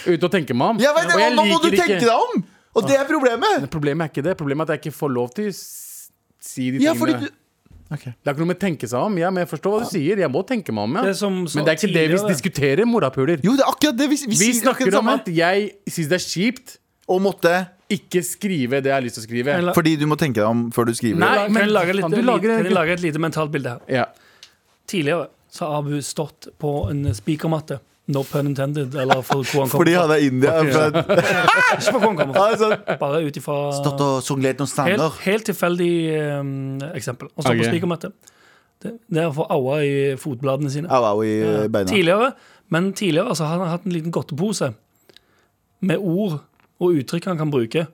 [SPEAKER 5] Ut og tenke meg om.
[SPEAKER 3] Jeg vet,
[SPEAKER 5] Og
[SPEAKER 3] det,
[SPEAKER 5] jeg
[SPEAKER 3] nå må du
[SPEAKER 5] liker
[SPEAKER 3] tenke
[SPEAKER 5] ikke-
[SPEAKER 3] deg om! Og det er problemet.
[SPEAKER 5] Problemet er ikke det. Problemet er at jeg ikke får lov til å s- si de
[SPEAKER 3] Ja, fordi
[SPEAKER 5] tingene.
[SPEAKER 3] du Ok.
[SPEAKER 5] Det er ikke noe med å tenke seg om. Ja, men jeg forstår hva du sier. Jeg må tenke meg om, ja.
[SPEAKER 4] Det er som sa
[SPEAKER 5] men det er ikke det vi
[SPEAKER 4] tidligere.
[SPEAKER 5] diskuterer, morapuler.
[SPEAKER 3] Jo, det er akkurat det vi, vi,
[SPEAKER 5] Vi
[SPEAKER 3] sier akkurat det
[SPEAKER 5] snakker om
[SPEAKER 3] samme.
[SPEAKER 5] at jeg syns det er kjipt
[SPEAKER 3] Og måtte
[SPEAKER 5] ikke skrive det jeg har lyst til å skrive.
[SPEAKER 4] Eller-
[SPEAKER 3] Fordi du må tenke deg om før du skriver
[SPEAKER 5] Nei.
[SPEAKER 3] det.
[SPEAKER 4] Kan jeg lage,
[SPEAKER 5] men
[SPEAKER 4] litt,
[SPEAKER 5] faen, du lager en-
[SPEAKER 4] kan jeg lage et lite mentalt bilde her?
[SPEAKER 5] Ja.
[SPEAKER 4] Tidligere så har Abu stått på en spikermatte. No pun intended. Eller for hvor han
[SPEAKER 3] Fordi
[SPEAKER 4] kommer fra.
[SPEAKER 3] han er indier. fra-
[SPEAKER 4] Ikke på hvor han kommer fra.
[SPEAKER 3] Han er sånn,
[SPEAKER 4] Bare ut ifra
[SPEAKER 3] Stått og sunglert noen
[SPEAKER 4] helt,
[SPEAKER 3] stander.
[SPEAKER 4] helt tilfeldig ehm, eksempel. Han står
[SPEAKER 5] Ok.
[SPEAKER 4] på spikermatte. Det, det er å få aua i fotbladene sine.
[SPEAKER 3] Au, au i eh, beina.
[SPEAKER 4] Tidligere, men tidligere altså, han har hatt en liten godtepose med ord og uttrykk han kan bruke.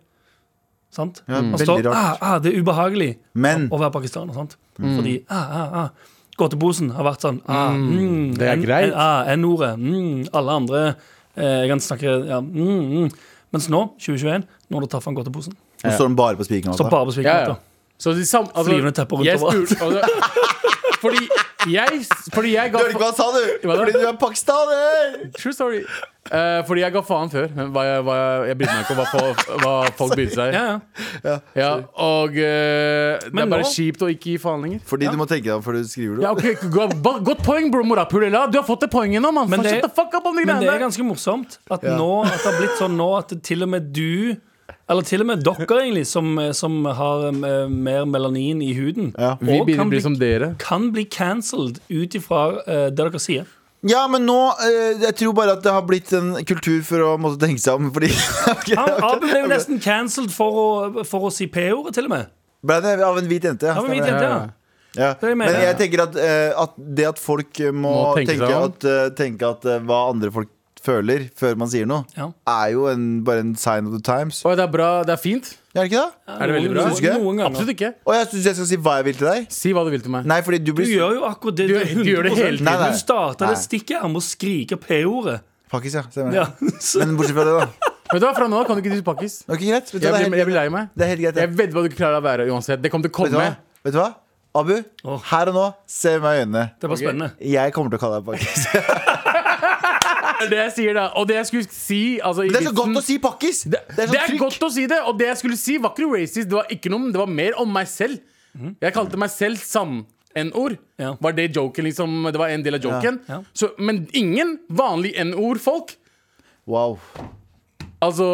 [SPEAKER 4] Sant?
[SPEAKER 3] Ja,
[SPEAKER 4] han
[SPEAKER 3] veldig
[SPEAKER 4] står
[SPEAKER 3] rart.
[SPEAKER 4] ah, ah, Det er ubehagelig
[SPEAKER 3] Men- Mm.
[SPEAKER 4] å å være pakistaner. Sant? Fordi ah, ah, ah. Godteposen har vært sånn ah, mm,
[SPEAKER 5] det er
[SPEAKER 4] N-
[SPEAKER 5] greit.
[SPEAKER 4] N- ah, N-ordet. Mm, alle andre eh, Jeg kan snakke ja, mm, mm. Mens nå, 2021, nå har du tatt fram godteposen.
[SPEAKER 3] Nå står han bare på altså.
[SPEAKER 4] Så
[SPEAKER 3] spikermatta.
[SPEAKER 4] bare på
[SPEAKER 5] Ja, ja.
[SPEAKER 4] spikermatta.
[SPEAKER 5] Så de sam- altså,
[SPEAKER 4] Flyvende tepper rundt
[SPEAKER 5] jeg
[SPEAKER 4] overalt.
[SPEAKER 5] spurte- altså, fordi jeg Fordi jeg ga
[SPEAKER 3] Du hørte ikke hva han sa, du!
[SPEAKER 5] Hva da?
[SPEAKER 3] Fordi du er pakistaner!
[SPEAKER 5] True story. Eh, fordi jeg ga faen før. Hva jeg, hva jeg, jeg brydde meg ikke om hva, fo- hva folk brydde seg.
[SPEAKER 4] Ja, ja.
[SPEAKER 5] Ja, og eh, det
[SPEAKER 4] Men
[SPEAKER 5] er bare
[SPEAKER 4] nå-
[SPEAKER 5] kjipt å ikke gi faen lenger.
[SPEAKER 3] Fordi du må tenke deg om før du skriver det.
[SPEAKER 5] Ja, ok, go- ba- Godt poeng, bro, morapulela. Du har fått det poenget nå, mann.
[SPEAKER 4] Men
[SPEAKER 5] Faen,
[SPEAKER 4] det-
[SPEAKER 5] Shut the fuck up om de
[SPEAKER 4] Men det
[SPEAKER 5] greiene
[SPEAKER 4] er
[SPEAKER 5] der.
[SPEAKER 4] ganske morsomt at,
[SPEAKER 3] Ja.
[SPEAKER 4] nå, at det har blitt sånn nå at til og med du eller til og med dere, egentlig, som, som har eh, mer melanin i huden,
[SPEAKER 3] Ja.
[SPEAKER 5] Vi
[SPEAKER 4] og
[SPEAKER 5] begynner
[SPEAKER 4] kan
[SPEAKER 5] å
[SPEAKER 4] bli,
[SPEAKER 5] bli som dere.
[SPEAKER 4] kan bli cancelled ut ifra eh, det dere sier.
[SPEAKER 3] Ja, men nå eh, Jeg tror bare at det har blitt en kultur for å måtte tenke seg om, fordi Ok,
[SPEAKER 4] Han,
[SPEAKER 3] ok.
[SPEAKER 4] Ah, Abu ble jo nesten cancelled for å, for å si P-ordet, til og med.
[SPEAKER 3] Ble det av en hvit jente? Ja,
[SPEAKER 4] Han var
[SPEAKER 3] stemmer.
[SPEAKER 4] midt inntil,
[SPEAKER 5] ja.
[SPEAKER 4] ja.
[SPEAKER 3] Ja.
[SPEAKER 4] Det er mer-
[SPEAKER 3] Men jeg tenker at, eh, at det at folk eh, må,
[SPEAKER 5] Må tenke
[SPEAKER 3] tenke,
[SPEAKER 5] seg om.
[SPEAKER 3] at, eh, tenke at eh, hva andre folk føler før man sier noe,
[SPEAKER 4] Ja.
[SPEAKER 3] er jo en, bare en sign of the times.
[SPEAKER 5] Oi, det er bra. Det er fint.
[SPEAKER 3] Er det ikke det?
[SPEAKER 5] Er det veldig
[SPEAKER 4] Noen-
[SPEAKER 5] bra?
[SPEAKER 3] Synes du ikke?
[SPEAKER 4] Noen ganger.
[SPEAKER 5] Absolutt ikke.
[SPEAKER 3] Og jeg syns jeg skal si hva jeg vil til deg.
[SPEAKER 5] Si hva du vil til meg.
[SPEAKER 3] Nei, fordi du
[SPEAKER 4] Du
[SPEAKER 3] blir
[SPEAKER 4] gjør jo akkurat det.
[SPEAKER 5] Du- du gjør det hele
[SPEAKER 3] tiden. Nei, nei.
[SPEAKER 4] Du starta det
[SPEAKER 3] Nei.
[SPEAKER 4] stikket her med å skrike P-ordet.
[SPEAKER 3] Pakkis, ja. Stemmer.
[SPEAKER 4] Ja. Så-
[SPEAKER 3] Men bortsett fra det, da.
[SPEAKER 5] Vet du hva, Fra nå av kan du ikke si pakkis.
[SPEAKER 3] Ok, greit. Vet du,
[SPEAKER 5] Jeg
[SPEAKER 3] hva, det,
[SPEAKER 5] blir,
[SPEAKER 3] er
[SPEAKER 5] jeg blir
[SPEAKER 3] helt,
[SPEAKER 5] lei meg.
[SPEAKER 3] det er helt greit.
[SPEAKER 5] Jeg
[SPEAKER 3] det.
[SPEAKER 5] vedder på at du klarer å være uansett. Det kommer til å
[SPEAKER 3] Vet du
[SPEAKER 5] komme.
[SPEAKER 3] hva? Vet du hva? Abu,
[SPEAKER 4] Åh.
[SPEAKER 3] her og nå, se meg i øynene.
[SPEAKER 4] Det var
[SPEAKER 5] Ok.
[SPEAKER 4] spennende.
[SPEAKER 3] Jeg kommer til å kalle deg pakkis.
[SPEAKER 5] Det er det jeg sier da. Og det jeg skulle si altså, i
[SPEAKER 3] Det er så
[SPEAKER 5] vitsen-
[SPEAKER 3] godt å si pakkis!
[SPEAKER 5] Det, det,
[SPEAKER 3] så
[SPEAKER 5] er
[SPEAKER 3] trykk.
[SPEAKER 5] godt å si det, og det jeg skulle si var ikke noe racist. Det var ikke noe, det var mer om meg selv. Jeg kalte meg selv sann-n-ord.
[SPEAKER 4] Mhm. Ja.
[SPEAKER 5] Var det joken liksom Det var en del av joken.
[SPEAKER 4] Ja.
[SPEAKER 5] Så, men ingen vanlig n-ord-folk,
[SPEAKER 3] Wow.
[SPEAKER 5] altså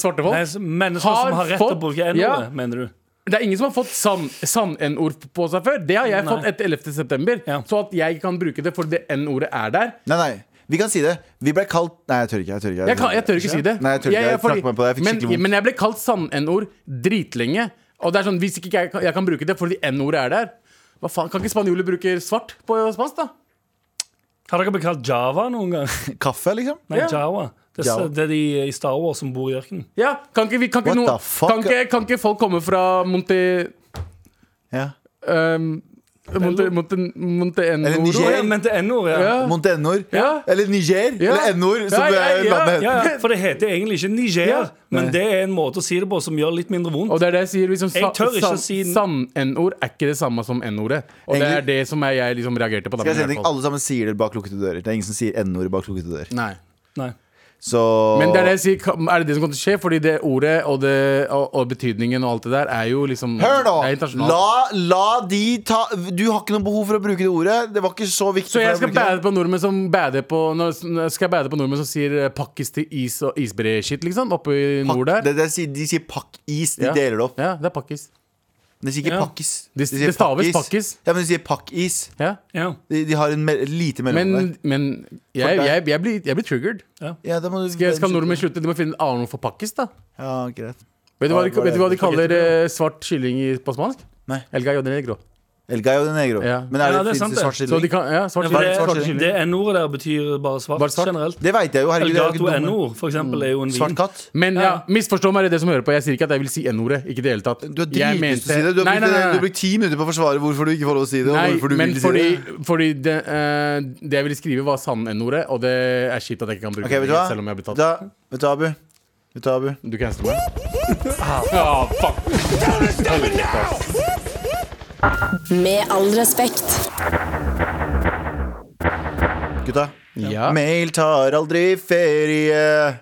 [SPEAKER 5] svarte folk
[SPEAKER 4] Nei, så Mennesker som har rett til
[SPEAKER 5] fått-
[SPEAKER 4] å bruke N-ordet,
[SPEAKER 5] Ja.
[SPEAKER 4] mener du?
[SPEAKER 5] Det er ingen som har fått sann- sann-n-ord på seg før. Det har jeg
[SPEAKER 4] Nei.
[SPEAKER 5] fått etter 11. september.
[SPEAKER 4] Ja.
[SPEAKER 5] Så at jeg kan bruke det fordi det n-ordet er der.
[SPEAKER 3] Nei, nei. Vi kan si det. Vi ble kalt Nei, jeg tør ikke. Jeg tør ikke.
[SPEAKER 5] Jeg, kan, jeg tør ikke si det.
[SPEAKER 3] Nei, jeg tør ikke. Jeg
[SPEAKER 5] fordi-
[SPEAKER 3] trakk meg på det. Jeg fikk skikkelig vondt.
[SPEAKER 5] men, men jeg ble kalt sann-n-ord dritlenge. Og det er sånn, Hvis ikke jeg, kan- jeg kan bruke det fordi n-ordet er der Hva faen, Kan ikke spanjoler bruke svart på spansk, da?
[SPEAKER 4] Har dere blitt kalt Java noen gang?
[SPEAKER 3] Kaffe, liksom?
[SPEAKER 4] Nei,
[SPEAKER 5] Ja.
[SPEAKER 4] Jawa. Det er,
[SPEAKER 3] Jawa.
[SPEAKER 4] det er de i Star Wars som bor i ørkenen.
[SPEAKER 5] Ja, Kan ikke, vi, kan
[SPEAKER 3] What
[SPEAKER 5] ikke, noen-
[SPEAKER 3] the fuck?
[SPEAKER 5] kan ikke, kan ikke folk komme fra Monte...
[SPEAKER 3] Ja.
[SPEAKER 5] Um, Monte, Monte, Monte
[SPEAKER 3] Eller
[SPEAKER 5] N-ord?
[SPEAKER 3] Niger.
[SPEAKER 4] Å, ja, men til N-ord, ja.
[SPEAKER 5] Ja.
[SPEAKER 3] Montenor.
[SPEAKER 5] Ja.
[SPEAKER 3] Eller Niger. Eller N-ord, som
[SPEAKER 5] Ja, ja,
[SPEAKER 3] eh,
[SPEAKER 5] ja.
[SPEAKER 3] landet heter.
[SPEAKER 4] Ja, ja, for det heter egentlig ikke Niger,
[SPEAKER 5] Ja.
[SPEAKER 4] men det er en måte å si det på som gjør litt mindre vondt.
[SPEAKER 5] Og det er det jeg sier. Liksom,
[SPEAKER 4] Jeg tør ikke
[SPEAKER 5] sa-
[SPEAKER 4] å si den.
[SPEAKER 5] Sann-n-ord er ikke det samme som n-ordet. Og det er
[SPEAKER 3] Egentlig-
[SPEAKER 5] det som jeg, jeg liksom reagerte på. Da,
[SPEAKER 3] Skal jeg si en
[SPEAKER 5] men i
[SPEAKER 3] ting?
[SPEAKER 5] hvert fall.
[SPEAKER 3] Alle sammen sier det bak lukkede dører. Det er ingen som sier N-ord bak lukkede dører.
[SPEAKER 5] Nei.
[SPEAKER 4] Nei.
[SPEAKER 3] Så
[SPEAKER 5] Men det er det jeg sier, ka- er det det som kommer til å skje? Fordi det ordet og, det, og, og betydningen og alt det der er jo liksom
[SPEAKER 3] Hør nå!
[SPEAKER 5] det er internasjonalt.
[SPEAKER 3] La, la de ta Du har ikke noe behov for å bruke det ordet. Det var ikke så viktig.
[SPEAKER 5] Så
[SPEAKER 3] for
[SPEAKER 5] jeg skal
[SPEAKER 3] deg å bruke
[SPEAKER 5] bade på nordmenn som bader på nå Skal jeg bade på nordmenn som sier eh, pakkis til is og isbre-shit, liksom? Oppe i nord
[SPEAKER 3] det.
[SPEAKER 5] der?
[SPEAKER 3] Det, det, sier- de sier pakkis. De
[SPEAKER 5] Ja.
[SPEAKER 3] deler det opp.
[SPEAKER 5] Ja, det er pakkis.
[SPEAKER 3] De sier ikke
[SPEAKER 4] Ja.
[SPEAKER 3] pakkis.
[SPEAKER 5] Det-
[SPEAKER 3] sier
[SPEAKER 5] det staves pakkis.
[SPEAKER 3] Ja, men de sier pakkis.
[SPEAKER 5] Ja.
[SPEAKER 4] Ja.
[SPEAKER 3] De, de har en me lite mellom
[SPEAKER 5] Men,
[SPEAKER 3] der.
[SPEAKER 5] men jeg,
[SPEAKER 3] For deg.
[SPEAKER 5] jeg, jeg, blir, jeg blir triggered.
[SPEAKER 3] Ja, da må du-
[SPEAKER 5] Skal, skal nordmenn slutte? De må finne en annen ord for pakkis, da.
[SPEAKER 3] Ja, greit.
[SPEAKER 5] Vet du hva,
[SPEAKER 3] Ja,
[SPEAKER 5] de-
[SPEAKER 3] det var
[SPEAKER 5] vet du hva de
[SPEAKER 3] det.
[SPEAKER 5] kaller eh, svart kylling i- på spansk?
[SPEAKER 3] Nei.
[SPEAKER 5] El gallo de negro.
[SPEAKER 3] El Gallo de Negro.
[SPEAKER 5] Ja.
[SPEAKER 3] Men er det,
[SPEAKER 4] Ja, det er
[SPEAKER 3] finnes
[SPEAKER 4] sant
[SPEAKER 3] det svart
[SPEAKER 5] Så de
[SPEAKER 3] skilling?
[SPEAKER 5] kan, ja, svart
[SPEAKER 4] Ja, for
[SPEAKER 5] kylling.
[SPEAKER 3] svart
[SPEAKER 4] det
[SPEAKER 3] skilling.
[SPEAKER 4] det N-ordet der betyr bare svart,
[SPEAKER 5] Bare svart?
[SPEAKER 4] generelt.
[SPEAKER 3] Det veit jeg jo. Herregud, jeg er jo
[SPEAKER 4] Elgato
[SPEAKER 3] ikke dum.
[SPEAKER 4] N-ord, for eksempel, er jo en
[SPEAKER 3] Svart
[SPEAKER 4] vin.
[SPEAKER 3] katt.
[SPEAKER 5] Men ja,
[SPEAKER 4] Ja.
[SPEAKER 5] misforstå meg, det er det som hører på. Jeg sier ikke at jeg vil si N-ordet. Ikke i det hele tatt.
[SPEAKER 3] Du har
[SPEAKER 5] Jeg
[SPEAKER 3] dritlyst til å
[SPEAKER 5] mente-
[SPEAKER 3] si det. Du har
[SPEAKER 5] Nei, nei,
[SPEAKER 3] brukt-
[SPEAKER 5] nei,
[SPEAKER 3] du har
[SPEAKER 5] nei.
[SPEAKER 3] brukt ti minutter på å forsvare hvorfor du ikke får lov å si det. Og hvorfor
[SPEAKER 5] Nei,
[SPEAKER 3] du
[SPEAKER 5] men
[SPEAKER 3] vil si
[SPEAKER 5] fordi,
[SPEAKER 3] det.
[SPEAKER 5] fordi det, eh, det jeg ville skrive, var sann N-ordet, og det er kjipt at jeg ikke kan bruke
[SPEAKER 3] Ok, vet du
[SPEAKER 5] det.
[SPEAKER 3] hva?
[SPEAKER 5] Selv om jeg blir tatt.
[SPEAKER 3] Da, vet du, Abu. Vet du, Abu.
[SPEAKER 5] Du kan stemme. Ah, fuck.
[SPEAKER 1] Med all respekt.
[SPEAKER 3] Gutta.
[SPEAKER 5] Ja.
[SPEAKER 3] Mail tar aldri ferie.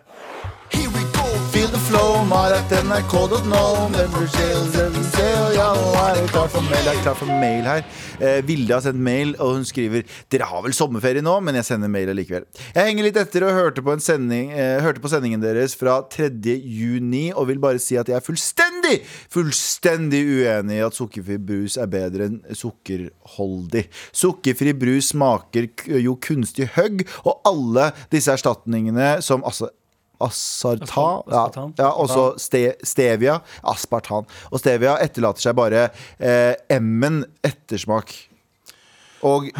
[SPEAKER 3] Here we go, feel the flow. Maratnrk.no. Never sail, never sail. Ja, nå er jeg klar for mail. Jeg er klar for mail her. Eh, Vilde har sendt mail, og hun skriver Dere har vel sommerferie nå, men jeg sender mail allikevel. Jeg henger litt etter og hørte på, en sending, eh, hørte på sendingen deres fra 3. juni, og vil bare si at jeg er fullstendig, fullstendig uenig i at sukkerfri brus er bedre enn sukkerholdig. Sukkerfri brus smaker k- jo kunstig høgg, og alle disse erstatningene som altså Aspartam ja,
[SPEAKER 4] Aspartam.
[SPEAKER 3] ja, også ste, stevia. Aspartan. Og stevia etterlater seg bare eh, M-en ettersmak. Og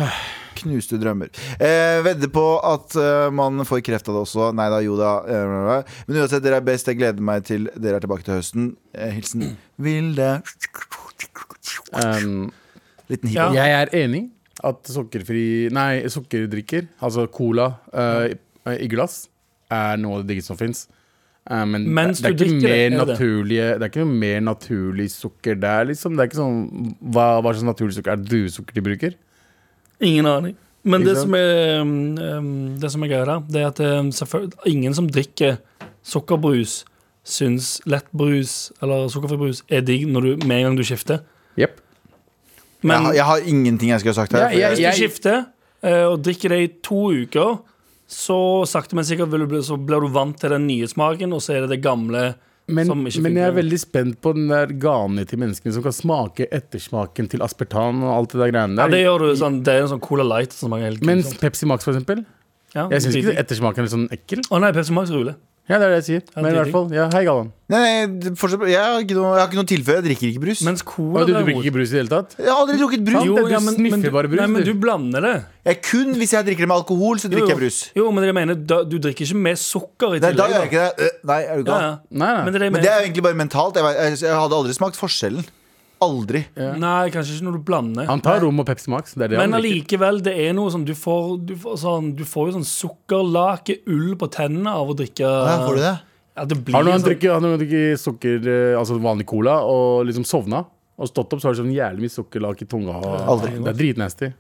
[SPEAKER 3] knuste drømmer. Eh, vedder på at eh, man får kreft av det også. Nei da, jo da. eh, Men uansett, dere er best. Jeg gleder meg til dere er tilbake til høsten. Eh, hilsen Vilde.
[SPEAKER 5] Um,
[SPEAKER 3] Liten
[SPEAKER 4] Ja.
[SPEAKER 3] hiphop.
[SPEAKER 5] jeg er enig at sukkerfri Nei, sukkerdrikker, altså cola eh, i glass, er noe av det diggeste som fins. men
[SPEAKER 4] Mens
[SPEAKER 5] det, det, er
[SPEAKER 4] du
[SPEAKER 5] ikke
[SPEAKER 4] drikker det,
[SPEAKER 5] mer
[SPEAKER 4] er det det?
[SPEAKER 5] naturlige, det er ikke noe mer naturlig sukker der, liksom. Det er ikke sånn Hva, hva slags naturlig sukker er det druesukker de bruker?
[SPEAKER 4] Ingen aning. Men
[SPEAKER 5] Ikke
[SPEAKER 4] det
[SPEAKER 5] sant?
[SPEAKER 4] som, er, um, um, det som er greia der, det er at um, selvfølgelig- ingen som drikker sukkerbrus, syns lettbrus eller sukkerfri brus er digg når du, med en gang du skifter.
[SPEAKER 5] Jepp.
[SPEAKER 4] Men
[SPEAKER 3] jeg, har- jeg har ingenting jeg skulle ha sagt her.
[SPEAKER 5] Ja,
[SPEAKER 3] for jeg,
[SPEAKER 4] hvis du
[SPEAKER 5] jeg-
[SPEAKER 4] skifter eh, og drikker det i to uker, så sakte, men sikkert vil du bli, så blir du vant til den nye smaken, og så er det det gamle
[SPEAKER 5] Men,
[SPEAKER 4] som ikke
[SPEAKER 5] men jeg er
[SPEAKER 4] funker.
[SPEAKER 5] veldig spent på den der ganen til menneskene som kan smake ettersmaken til aspartan og alt det der greiene
[SPEAKER 4] ja,
[SPEAKER 5] der.
[SPEAKER 4] det gjør du sånn, det er en sånn Cola Light som smaker helt
[SPEAKER 5] Mens
[SPEAKER 4] grusomt.
[SPEAKER 5] Pepsi Max, for eksempel.
[SPEAKER 4] Ja,
[SPEAKER 5] Jeg syns ikke
[SPEAKER 4] dritdigg.
[SPEAKER 5] ettersmaken er sånn ekkel.
[SPEAKER 4] Å nei, Pepsi Max ruler.
[SPEAKER 5] Ja, det er det jeg sier. Men i
[SPEAKER 4] det er
[SPEAKER 5] hvert fall, ja, hei, Galvan.
[SPEAKER 3] nei, nei, fortsatt, jeg, har ikke noe, jeg har ikke noe å tilføye. Jeg drikker ikke brus.
[SPEAKER 4] Mens
[SPEAKER 5] Å,
[SPEAKER 4] Cola
[SPEAKER 5] Du, du
[SPEAKER 4] derimot-
[SPEAKER 5] bruker ikke brus i det hele tatt?
[SPEAKER 3] jeg har aldri drukket brus.
[SPEAKER 4] Jo,
[SPEAKER 5] det- du
[SPEAKER 4] ja, men, men,
[SPEAKER 5] sniffer
[SPEAKER 4] du,
[SPEAKER 5] bare brus,
[SPEAKER 4] nei, men
[SPEAKER 5] du.
[SPEAKER 4] du blander det.
[SPEAKER 3] Jeg kun hvis jeg drikker det med alkohol, så drikker jeg brus.
[SPEAKER 4] Jo, men det jeg mener, da, du drikker ikke med sukker
[SPEAKER 3] Nei,
[SPEAKER 4] i tillegg.
[SPEAKER 3] da gjør jeg
[SPEAKER 4] da.
[SPEAKER 3] ikke det. Øh, Nei, er du
[SPEAKER 4] Ja,
[SPEAKER 3] gal?
[SPEAKER 4] ja.
[SPEAKER 5] Nei,
[SPEAKER 4] Men det er det jeg
[SPEAKER 5] nei.
[SPEAKER 3] Men det er
[SPEAKER 4] mener.
[SPEAKER 3] jo egentlig bare mentalt. Jeg, jeg, jeg hadde aldri smakt forskjellen. Aldri.
[SPEAKER 4] Nei, kanskje ikke når du blander.
[SPEAKER 5] Han tar rom og Pepsi Max. Det er det
[SPEAKER 4] Men
[SPEAKER 5] han drikker.
[SPEAKER 4] allikevel, det er noe sånn Du får, du får, sånn, du får jo sånn sukkerlake ull på tennene av å drikke
[SPEAKER 3] Ja, får du det?
[SPEAKER 4] Ja, det blir
[SPEAKER 5] Har du noen
[SPEAKER 4] sånn-
[SPEAKER 5] drikker, har noen drikker sukker, eh, altså vanlig cola, og liksom sovna? Og stått opp, så har du sånn jævlig mye sukkerlak i tunga. Og,
[SPEAKER 3] Aldri.
[SPEAKER 5] Det er dritnasty.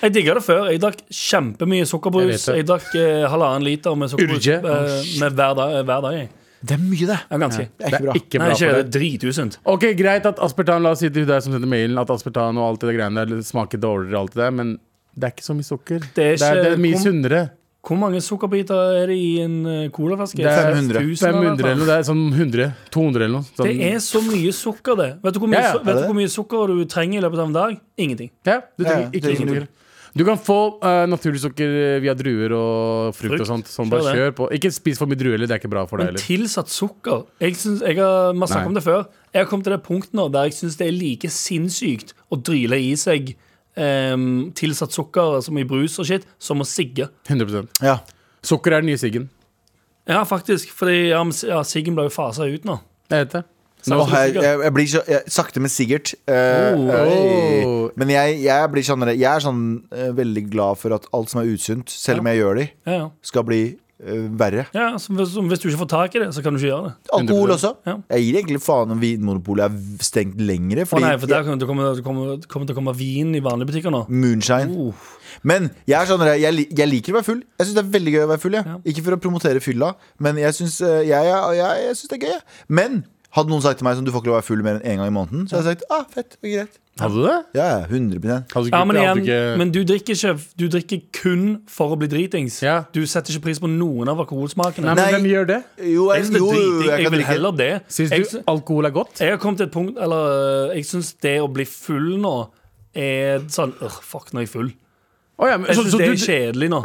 [SPEAKER 4] Jeg digga det før. Jeg drakk kjempemye
[SPEAKER 5] Jeg
[SPEAKER 4] sukkerbrus.
[SPEAKER 5] vet det.
[SPEAKER 4] Jeg, drakk eh, halvannen liter med sukkerbrus
[SPEAKER 5] Urge.
[SPEAKER 4] eh, med hver dag. Hver dag jeg.
[SPEAKER 3] Det er mye, det.
[SPEAKER 4] Ja, ganske.
[SPEAKER 3] Det er
[SPEAKER 5] Det
[SPEAKER 3] ikke bra.
[SPEAKER 5] er ikke
[SPEAKER 4] Nei,
[SPEAKER 5] bra
[SPEAKER 4] ikke
[SPEAKER 5] for
[SPEAKER 4] det.
[SPEAKER 5] deg.
[SPEAKER 4] Det er dritusunt.
[SPEAKER 5] Ok, greit at aspartan, la oss si til deg som sendte mailen At aspartan og alt det der greiene der smaker dårligere og alt det der Men det er ikke så mye sukker Det
[SPEAKER 4] er
[SPEAKER 5] er, det er,
[SPEAKER 4] ikke-
[SPEAKER 5] mye
[SPEAKER 4] kom-
[SPEAKER 5] sunnere
[SPEAKER 4] Hvor mange sukkerbiter er det i en eh, colaflaske?
[SPEAKER 5] Det er
[SPEAKER 3] 500.
[SPEAKER 4] 1000 eller noe
[SPEAKER 5] 500
[SPEAKER 4] sånt.
[SPEAKER 5] eller noe, det er sånn 100 200 eller noe sånn,
[SPEAKER 4] Det er så mye sukker, det. Vet du hvor mye,
[SPEAKER 5] Ja, ja,
[SPEAKER 4] su-
[SPEAKER 5] er
[SPEAKER 3] det?
[SPEAKER 4] vet du hvor mye sukker du trenger i løpet av en dag? Ingenting.
[SPEAKER 5] ja, du
[SPEAKER 3] Ja,
[SPEAKER 5] trenger
[SPEAKER 3] ja,
[SPEAKER 5] ikke
[SPEAKER 3] det er
[SPEAKER 5] sukker Du kan få eh, naturlig sukker via druer og frukt,
[SPEAKER 4] Frukt.
[SPEAKER 5] og sånt Sånn
[SPEAKER 4] Kjør
[SPEAKER 5] bare kjør
[SPEAKER 4] det.
[SPEAKER 5] på Ikke spis for mye druer, eller det er ikke bra for deg
[SPEAKER 4] Men
[SPEAKER 5] heller
[SPEAKER 4] tilsatt sukker Jeg synes, jeg har vi har snakket
[SPEAKER 5] Nei.
[SPEAKER 4] om det før. Jeg har kommet til det punktet nå der jeg syns det er like sinnssykt å dryle i seg em, tilsatt sukker som i brus og shit, som å sigge.
[SPEAKER 5] 100%
[SPEAKER 3] Ja.
[SPEAKER 5] Sukker er den nye siggen
[SPEAKER 4] Ja, faktisk. Fordi ja, men si- ja, siggen ble jo fasa ut nå.
[SPEAKER 5] Jeg vet det
[SPEAKER 4] Nå-
[SPEAKER 3] Åh, jeg, jeg, jeg blir så jeg, Sakte, men sikkert. Eh,
[SPEAKER 4] Oh.
[SPEAKER 3] øy. Men jeg, jeg blir sånn Jeg er sånn eh, veldig glad for at alt som er usunt, selv om jeg gjør det,
[SPEAKER 4] Ja, ja.
[SPEAKER 3] skal bli eh, verre.
[SPEAKER 4] Ja, som hvis, som hvis du ikke får tak i det, så kan du ikke gjøre det.
[SPEAKER 3] Alkohol også.
[SPEAKER 4] Ja.
[SPEAKER 3] Jeg gir egentlig faen om Vinmonopolet er v- stengt lengre.
[SPEAKER 4] Å
[SPEAKER 3] Fordi
[SPEAKER 4] nei, for der kommer det kommer- det kommer, det kommer til å komme vin i vanlige butikker nå.
[SPEAKER 3] Moonshine.
[SPEAKER 4] Uh,
[SPEAKER 3] Men jeg, er sånn, der, jeg, li- jeg liker å være full. Jeg syns det er veldig gøy å være full. Jeg.
[SPEAKER 4] Ja.
[SPEAKER 3] Ikke for å promotere fylla, men jeg syns jeg, jeg, jeg, jeg synes det er gøy. jeg. Men hadde noen sagt til meg som du får ikke lov å være full mer enn én gang i måneden, så hadde jeg sagt ah, fett og greit.
[SPEAKER 5] Hadde du det?
[SPEAKER 3] Ja, ja, 100
[SPEAKER 5] Hadde du ikke
[SPEAKER 4] ja,
[SPEAKER 5] gjort
[SPEAKER 4] men
[SPEAKER 5] det,
[SPEAKER 4] igjen,
[SPEAKER 5] hadde du ikke-
[SPEAKER 4] men du drikker ikke Du drikker kun for å bli dritings.
[SPEAKER 5] Ja.
[SPEAKER 4] Du setter ikke pris på noen av alkoholsmakene.
[SPEAKER 3] Nei.
[SPEAKER 5] Nei, men hvem gjør det?
[SPEAKER 3] Jo,
[SPEAKER 4] Jeg,
[SPEAKER 3] jeg,
[SPEAKER 4] synes det
[SPEAKER 3] jo,
[SPEAKER 4] er
[SPEAKER 3] jo,
[SPEAKER 4] driting.
[SPEAKER 3] jeg
[SPEAKER 4] jeg
[SPEAKER 3] kan
[SPEAKER 4] vil
[SPEAKER 3] drikke.
[SPEAKER 4] heller det.
[SPEAKER 5] Syns
[SPEAKER 4] Jeg
[SPEAKER 5] du
[SPEAKER 4] sy-
[SPEAKER 5] alkohol er godt?
[SPEAKER 4] Jeg har kommet til et punkt Eller øh, jeg syns det å bli full nå er sånn øh, Fuck, nå er jeg full.
[SPEAKER 5] Å ja, men-
[SPEAKER 4] Jeg
[SPEAKER 5] så-
[SPEAKER 4] syns
[SPEAKER 5] så
[SPEAKER 4] det
[SPEAKER 5] du-
[SPEAKER 4] er kjedelig nå.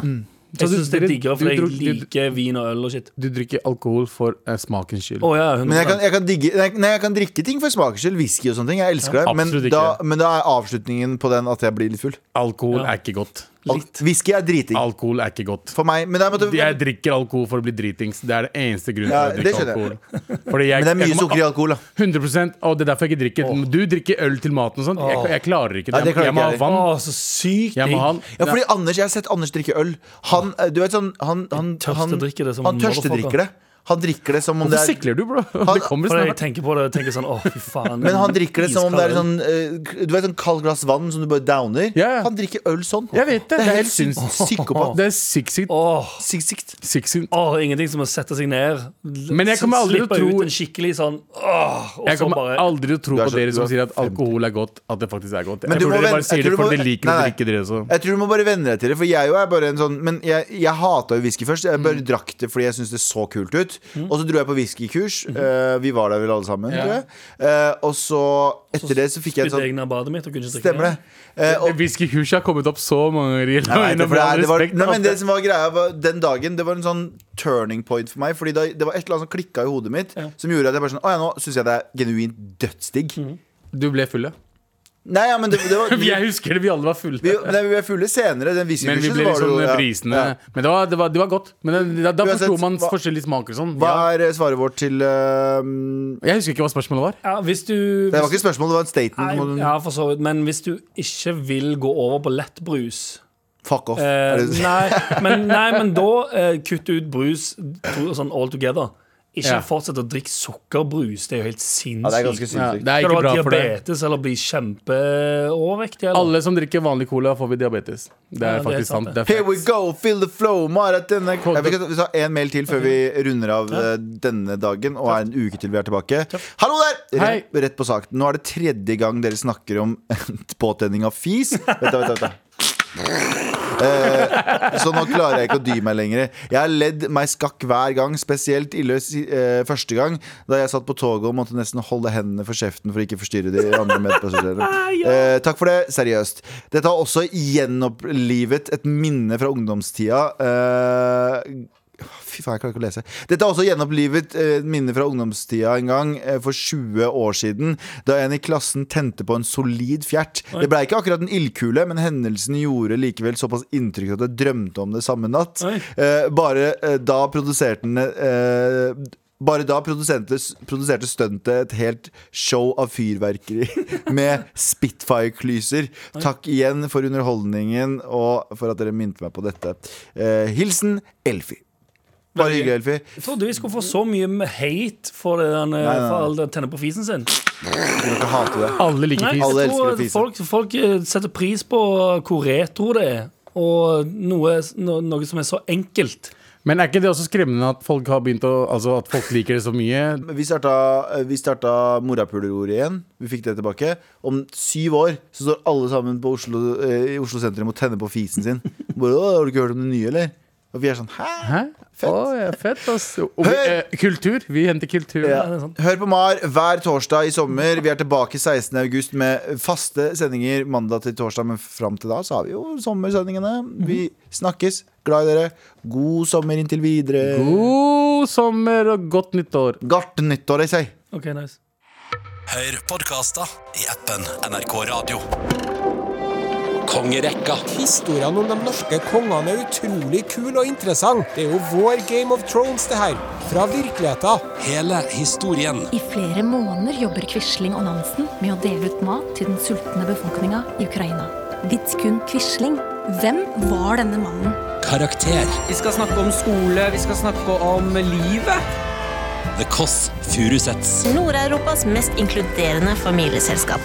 [SPEAKER 5] Så
[SPEAKER 4] Jeg
[SPEAKER 5] du-
[SPEAKER 4] syns det
[SPEAKER 5] dere-
[SPEAKER 4] er diggere, for
[SPEAKER 5] du
[SPEAKER 4] jeg
[SPEAKER 5] drukk- du-
[SPEAKER 4] liker vin og øl og shit.
[SPEAKER 5] Du drikker alkohol for eh, smakens skyld.
[SPEAKER 4] Å ja, 100%.
[SPEAKER 3] Men jeg kan, jeg, kan digge, nei, nei, jeg kan drikke ting for smakens skyld. Whisky og sånne ting. Jeg elsker det. Men
[SPEAKER 5] absolutt
[SPEAKER 3] da,
[SPEAKER 5] ikke.
[SPEAKER 3] men da er avslutningen på den at jeg blir litt full.
[SPEAKER 5] Alkohol
[SPEAKER 4] Ja.
[SPEAKER 5] er ikke godt.
[SPEAKER 3] Al- Whisky er driting
[SPEAKER 5] Alkohol er ikke godt.
[SPEAKER 3] for meg. Men, det er, på en måte-
[SPEAKER 5] Jeg drikker alkohol for å bli dritings. Det er det eneste grunnen
[SPEAKER 3] Ja,
[SPEAKER 5] til
[SPEAKER 3] det
[SPEAKER 5] å drikke
[SPEAKER 3] skjønner jeg.
[SPEAKER 5] alkohol. Fordi jeg,
[SPEAKER 3] men det er
[SPEAKER 5] jeg
[SPEAKER 3] mye
[SPEAKER 5] kommer
[SPEAKER 3] sukker i alkohol. Da.
[SPEAKER 5] 100 og det er derfor jeg ikke drikker. Du drikker øl til maten og sånt. Jeg, jeg klarer ikke det.
[SPEAKER 3] Nei, det klarer
[SPEAKER 5] jeg,
[SPEAKER 3] ikke
[SPEAKER 5] må ha
[SPEAKER 3] jeg
[SPEAKER 5] vann.
[SPEAKER 4] Å, så sykt
[SPEAKER 5] Jeg må ha
[SPEAKER 4] digg.
[SPEAKER 3] Ja, fordi Anders, Jeg har sett Anders drikke øl. Han, eh, du vet sånn, han, han, han,
[SPEAKER 4] tørstedrikker det som
[SPEAKER 3] han tørstedrikker det. Han drikker det som om det
[SPEAKER 5] Hvorfor
[SPEAKER 3] er
[SPEAKER 5] sikler du, bro?
[SPEAKER 3] Han-
[SPEAKER 5] Det kommer
[SPEAKER 4] For jeg
[SPEAKER 5] snart.
[SPEAKER 4] tenker på det og tenker sånn Å, fy faen.
[SPEAKER 3] Men han drikker det som om det er
[SPEAKER 4] Iskald øl.
[SPEAKER 3] sånn eh, Du vet sånn kald glass vann som du bare downer?
[SPEAKER 5] Ja, ja.
[SPEAKER 3] Han drikker øl sånn.
[SPEAKER 5] Jeg vet det.
[SPEAKER 3] Det er helt
[SPEAKER 5] helt sykt.
[SPEAKER 3] sykt. Psykopat.
[SPEAKER 5] Det er sikksykt.
[SPEAKER 4] Åh,
[SPEAKER 3] Sikt,
[SPEAKER 5] Sikksykt.
[SPEAKER 4] åh, ingenting som å sette seg ned.
[SPEAKER 5] Men jeg kommer aldri til å
[SPEAKER 4] Slippe
[SPEAKER 5] tro-
[SPEAKER 4] ut en skikkelig sånn åh, Og
[SPEAKER 5] Jeg
[SPEAKER 4] så
[SPEAKER 5] kommer
[SPEAKER 4] bare
[SPEAKER 5] aldri til å tro
[SPEAKER 3] Du er
[SPEAKER 5] på
[SPEAKER 3] så-
[SPEAKER 5] dere
[SPEAKER 3] du
[SPEAKER 5] som
[SPEAKER 3] er
[SPEAKER 5] sier at alkohol er godt, at det faktisk er godt.
[SPEAKER 3] Men
[SPEAKER 5] Jeg
[SPEAKER 3] du
[SPEAKER 5] tror
[SPEAKER 3] må
[SPEAKER 5] dere
[SPEAKER 3] vente-
[SPEAKER 5] bare sier
[SPEAKER 3] jeg
[SPEAKER 5] det
[SPEAKER 3] tror du må-
[SPEAKER 5] fordi dere liker å
[SPEAKER 3] Nei, nei.
[SPEAKER 5] drikke, dere også.
[SPEAKER 3] Jeg tror du må bare venne deg til det, for jeg jo er bare en sånn Men jeg, jeg hata jo whisky først. Jeg bare drakk det fordi jeg syntes det så kult ut. Og så dro jeg på whiskykurs. eh, vi var der vel alle sammen, tror jeg. Eh, og så, etter det, så fikk jeg en
[SPEAKER 4] spydde
[SPEAKER 3] sånn
[SPEAKER 4] egen av badet mitt og kunne ikke drikke
[SPEAKER 3] Stemmer det? Eh, og,
[SPEAKER 5] Whisky Hush har kommet opp så mange ganger.
[SPEAKER 3] Nei, nei, det,
[SPEAKER 5] Innom
[SPEAKER 3] for det, er- det var,
[SPEAKER 5] respekt,
[SPEAKER 3] nei, men det
[SPEAKER 5] altså.
[SPEAKER 3] som var greia var, Den dagen det var en sånn turning point for meg. Fordi da, Det var et eller annet som klikka i hodet mitt,
[SPEAKER 4] Ja.
[SPEAKER 3] som gjorde at jeg bare sånn Å ja, nå syns jeg det er genuint dødsdigg.
[SPEAKER 5] Du ble full, ja?
[SPEAKER 3] Nei, ja, men det, det var
[SPEAKER 5] Jeg husker det, vi alle var fulle.
[SPEAKER 3] vi, nei, vi ble fulle senere. Den
[SPEAKER 5] men vi ble litt sånn brisende. Men det var, det var, det var godt. Men det, da, da
[SPEAKER 3] Uansett,
[SPEAKER 5] forsto man
[SPEAKER 3] hva-
[SPEAKER 5] forskjellige smaker og sånn.
[SPEAKER 3] Hva
[SPEAKER 5] Ja.
[SPEAKER 3] er eh, svaret vårt til eh,
[SPEAKER 5] Jeg husker ikke hva spørsmålet var.
[SPEAKER 4] Ja, hvis du
[SPEAKER 3] Det var ikke et spørsmål, det var en statement.
[SPEAKER 4] Nei,
[SPEAKER 3] Må du-
[SPEAKER 4] ja, for så vidt. Men hvis du ikke vil gå over på lettbrus
[SPEAKER 3] Fuck off.
[SPEAKER 4] eh,
[SPEAKER 3] er det,
[SPEAKER 4] nei, men, nei, men da eh, kutt ut brus to- sånn all together. Ikke
[SPEAKER 5] Ja.
[SPEAKER 4] fortsett å drikke sukkerbrus. Det er jo helt sinnssykt.
[SPEAKER 3] ja, det er ganske
[SPEAKER 5] Ja,
[SPEAKER 3] sinnssykt.
[SPEAKER 5] det er
[SPEAKER 4] Skal
[SPEAKER 5] ikke
[SPEAKER 4] du ha
[SPEAKER 5] bra for deg.
[SPEAKER 4] diabetes eller bli kjempeovervektig? eller?
[SPEAKER 5] Alle som drikker vanlig cola, får vi diabetes.
[SPEAKER 4] Ja,
[SPEAKER 5] Det er
[SPEAKER 4] det er
[SPEAKER 5] faktisk
[SPEAKER 4] sant,
[SPEAKER 5] sant.
[SPEAKER 4] det.
[SPEAKER 5] Det
[SPEAKER 3] Here
[SPEAKER 5] er
[SPEAKER 3] we
[SPEAKER 5] facts.
[SPEAKER 3] go, feel the flow, Marathon er- Jeg vil ikke- Vi tar én mail til før vi runder av eh, denne dagen, og er en uke til vi er tilbake. Hallo der!
[SPEAKER 5] Hei.
[SPEAKER 3] Rett, rett på sak. Nå er det tredje gang dere snakker om påtenning av fis. Vent, da, vent, da, vent. da. Eh, så nå klarer jeg ikke å dy meg lenger. Jeg har ledd meg skakk hver gang, spesielt ille si- eh, første gang, da jeg satt på toget og måtte nesten holde hendene for kjeften for ikke å forstyrre de andre medpassasjerene. Eh, takk for det. Seriøst. Dette har også gjenopplivet et minne fra ungdomstida. Eh, Fy faen, jeg klarer ikke å lese. Dette har også gjenopplivet eh, et minne fra ungdomstida en gang eh, for 20 år siden, da en i klassen tente på en solid fjert. Det ble ikke akkurat en ildkule, men hendelsen gjorde likevel såpass inntrykk at jeg drømte om det samme natt.
[SPEAKER 4] Oi.
[SPEAKER 3] Eh, bare eh, da produsentene eh, bare da produsentene s- produserte stuntet et helt show av fyrverkeri med Spitfire-klyser. Takk igjen for underholdningen og for at dere minte meg på dette. Eh, hilsen Elfi. Bare hyggelig, Elfi.
[SPEAKER 4] Jeg trodde vi skulle få så mye hate for, den, eh,
[SPEAKER 3] Nei, nei, nei.
[SPEAKER 4] for all den tenne på fisen sin.
[SPEAKER 3] Du må ikke hate det.
[SPEAKER 5] Alle liker
[SPEAKER 4] Nei,
[SPEAKER 5] fis.
[SPEAKER 3] Alle
[SPEAKER 4] jeg
[SPEAKER 3] elsker å
[SPEAKER 4] tror at
[SPEAKER 3] fise.
[SPEAKER 4] folk, folk eh, setter pris på hvor retro det er. Og noe, no, noe som er så enkelt.
[SPEAKER 5] Men er ikke det også skremmende at folk har begynt å Altså at folk liker det så mye?
[SPEAKER 3] Vi starta, vi starta morapulerordet igjen. Vi fikk det tilbake. Om syv år så står alle sammen på Oslo, eh, i Oslo sentrum og tenner på fisen sin. Bare, «Å, har du ikke hørt om det nye, eller? Og vi er sånn hæ?
[SPEAKER 5] Hæ? Fett. ja, fett ass. Og vi,
[SPEAKER 3] Hør!
[SPEAKER 5] eh, kultur. Vi henter kultur.
[SPEAKER 3] Ja.
[SPEAKER 4] det er sant.
[SPEAKER 3] Hør på Mar hver torsdag i sommer. Vi er tilbake 16. august med faste sendinger mandag til torsdag. Men fram til da så har vi jo sommersendingene. Vi snakkes. Glad i dere. God sommer inntil videre.
[SPEAKER 5] God sommer og godt nytt år.
[SPEAKER 3] Godt nyttår, jeg sier.
[SPEAKER 4] Ok, nice
[SPEAKER 6] Hør podkaster i appen NRK Radio. Kongerekka
[SPEAKER 7] Historien om de norske kongene er utrolig kul og interessant. Det er jo vår Game of Thrones, det her. Fra virkeligheten.
[SPEAKER 6] hele historien
[SPEAKER 8] I flere måneder jobber Quisling og Nansen med å dele ut mat til den sultne befolkninga i Ukraina. Vidkun Quisling, hvem var denne mannen?
[SPEAKER 9] Karakter.
[SPEAKER 10] Vi skal snakke om skole, vi skal snakke om livet.
[SPEAKER 9] The Kåss Furuseths.
[SPEAKER 11] Nord-Europas mest inkluderende familieselskap.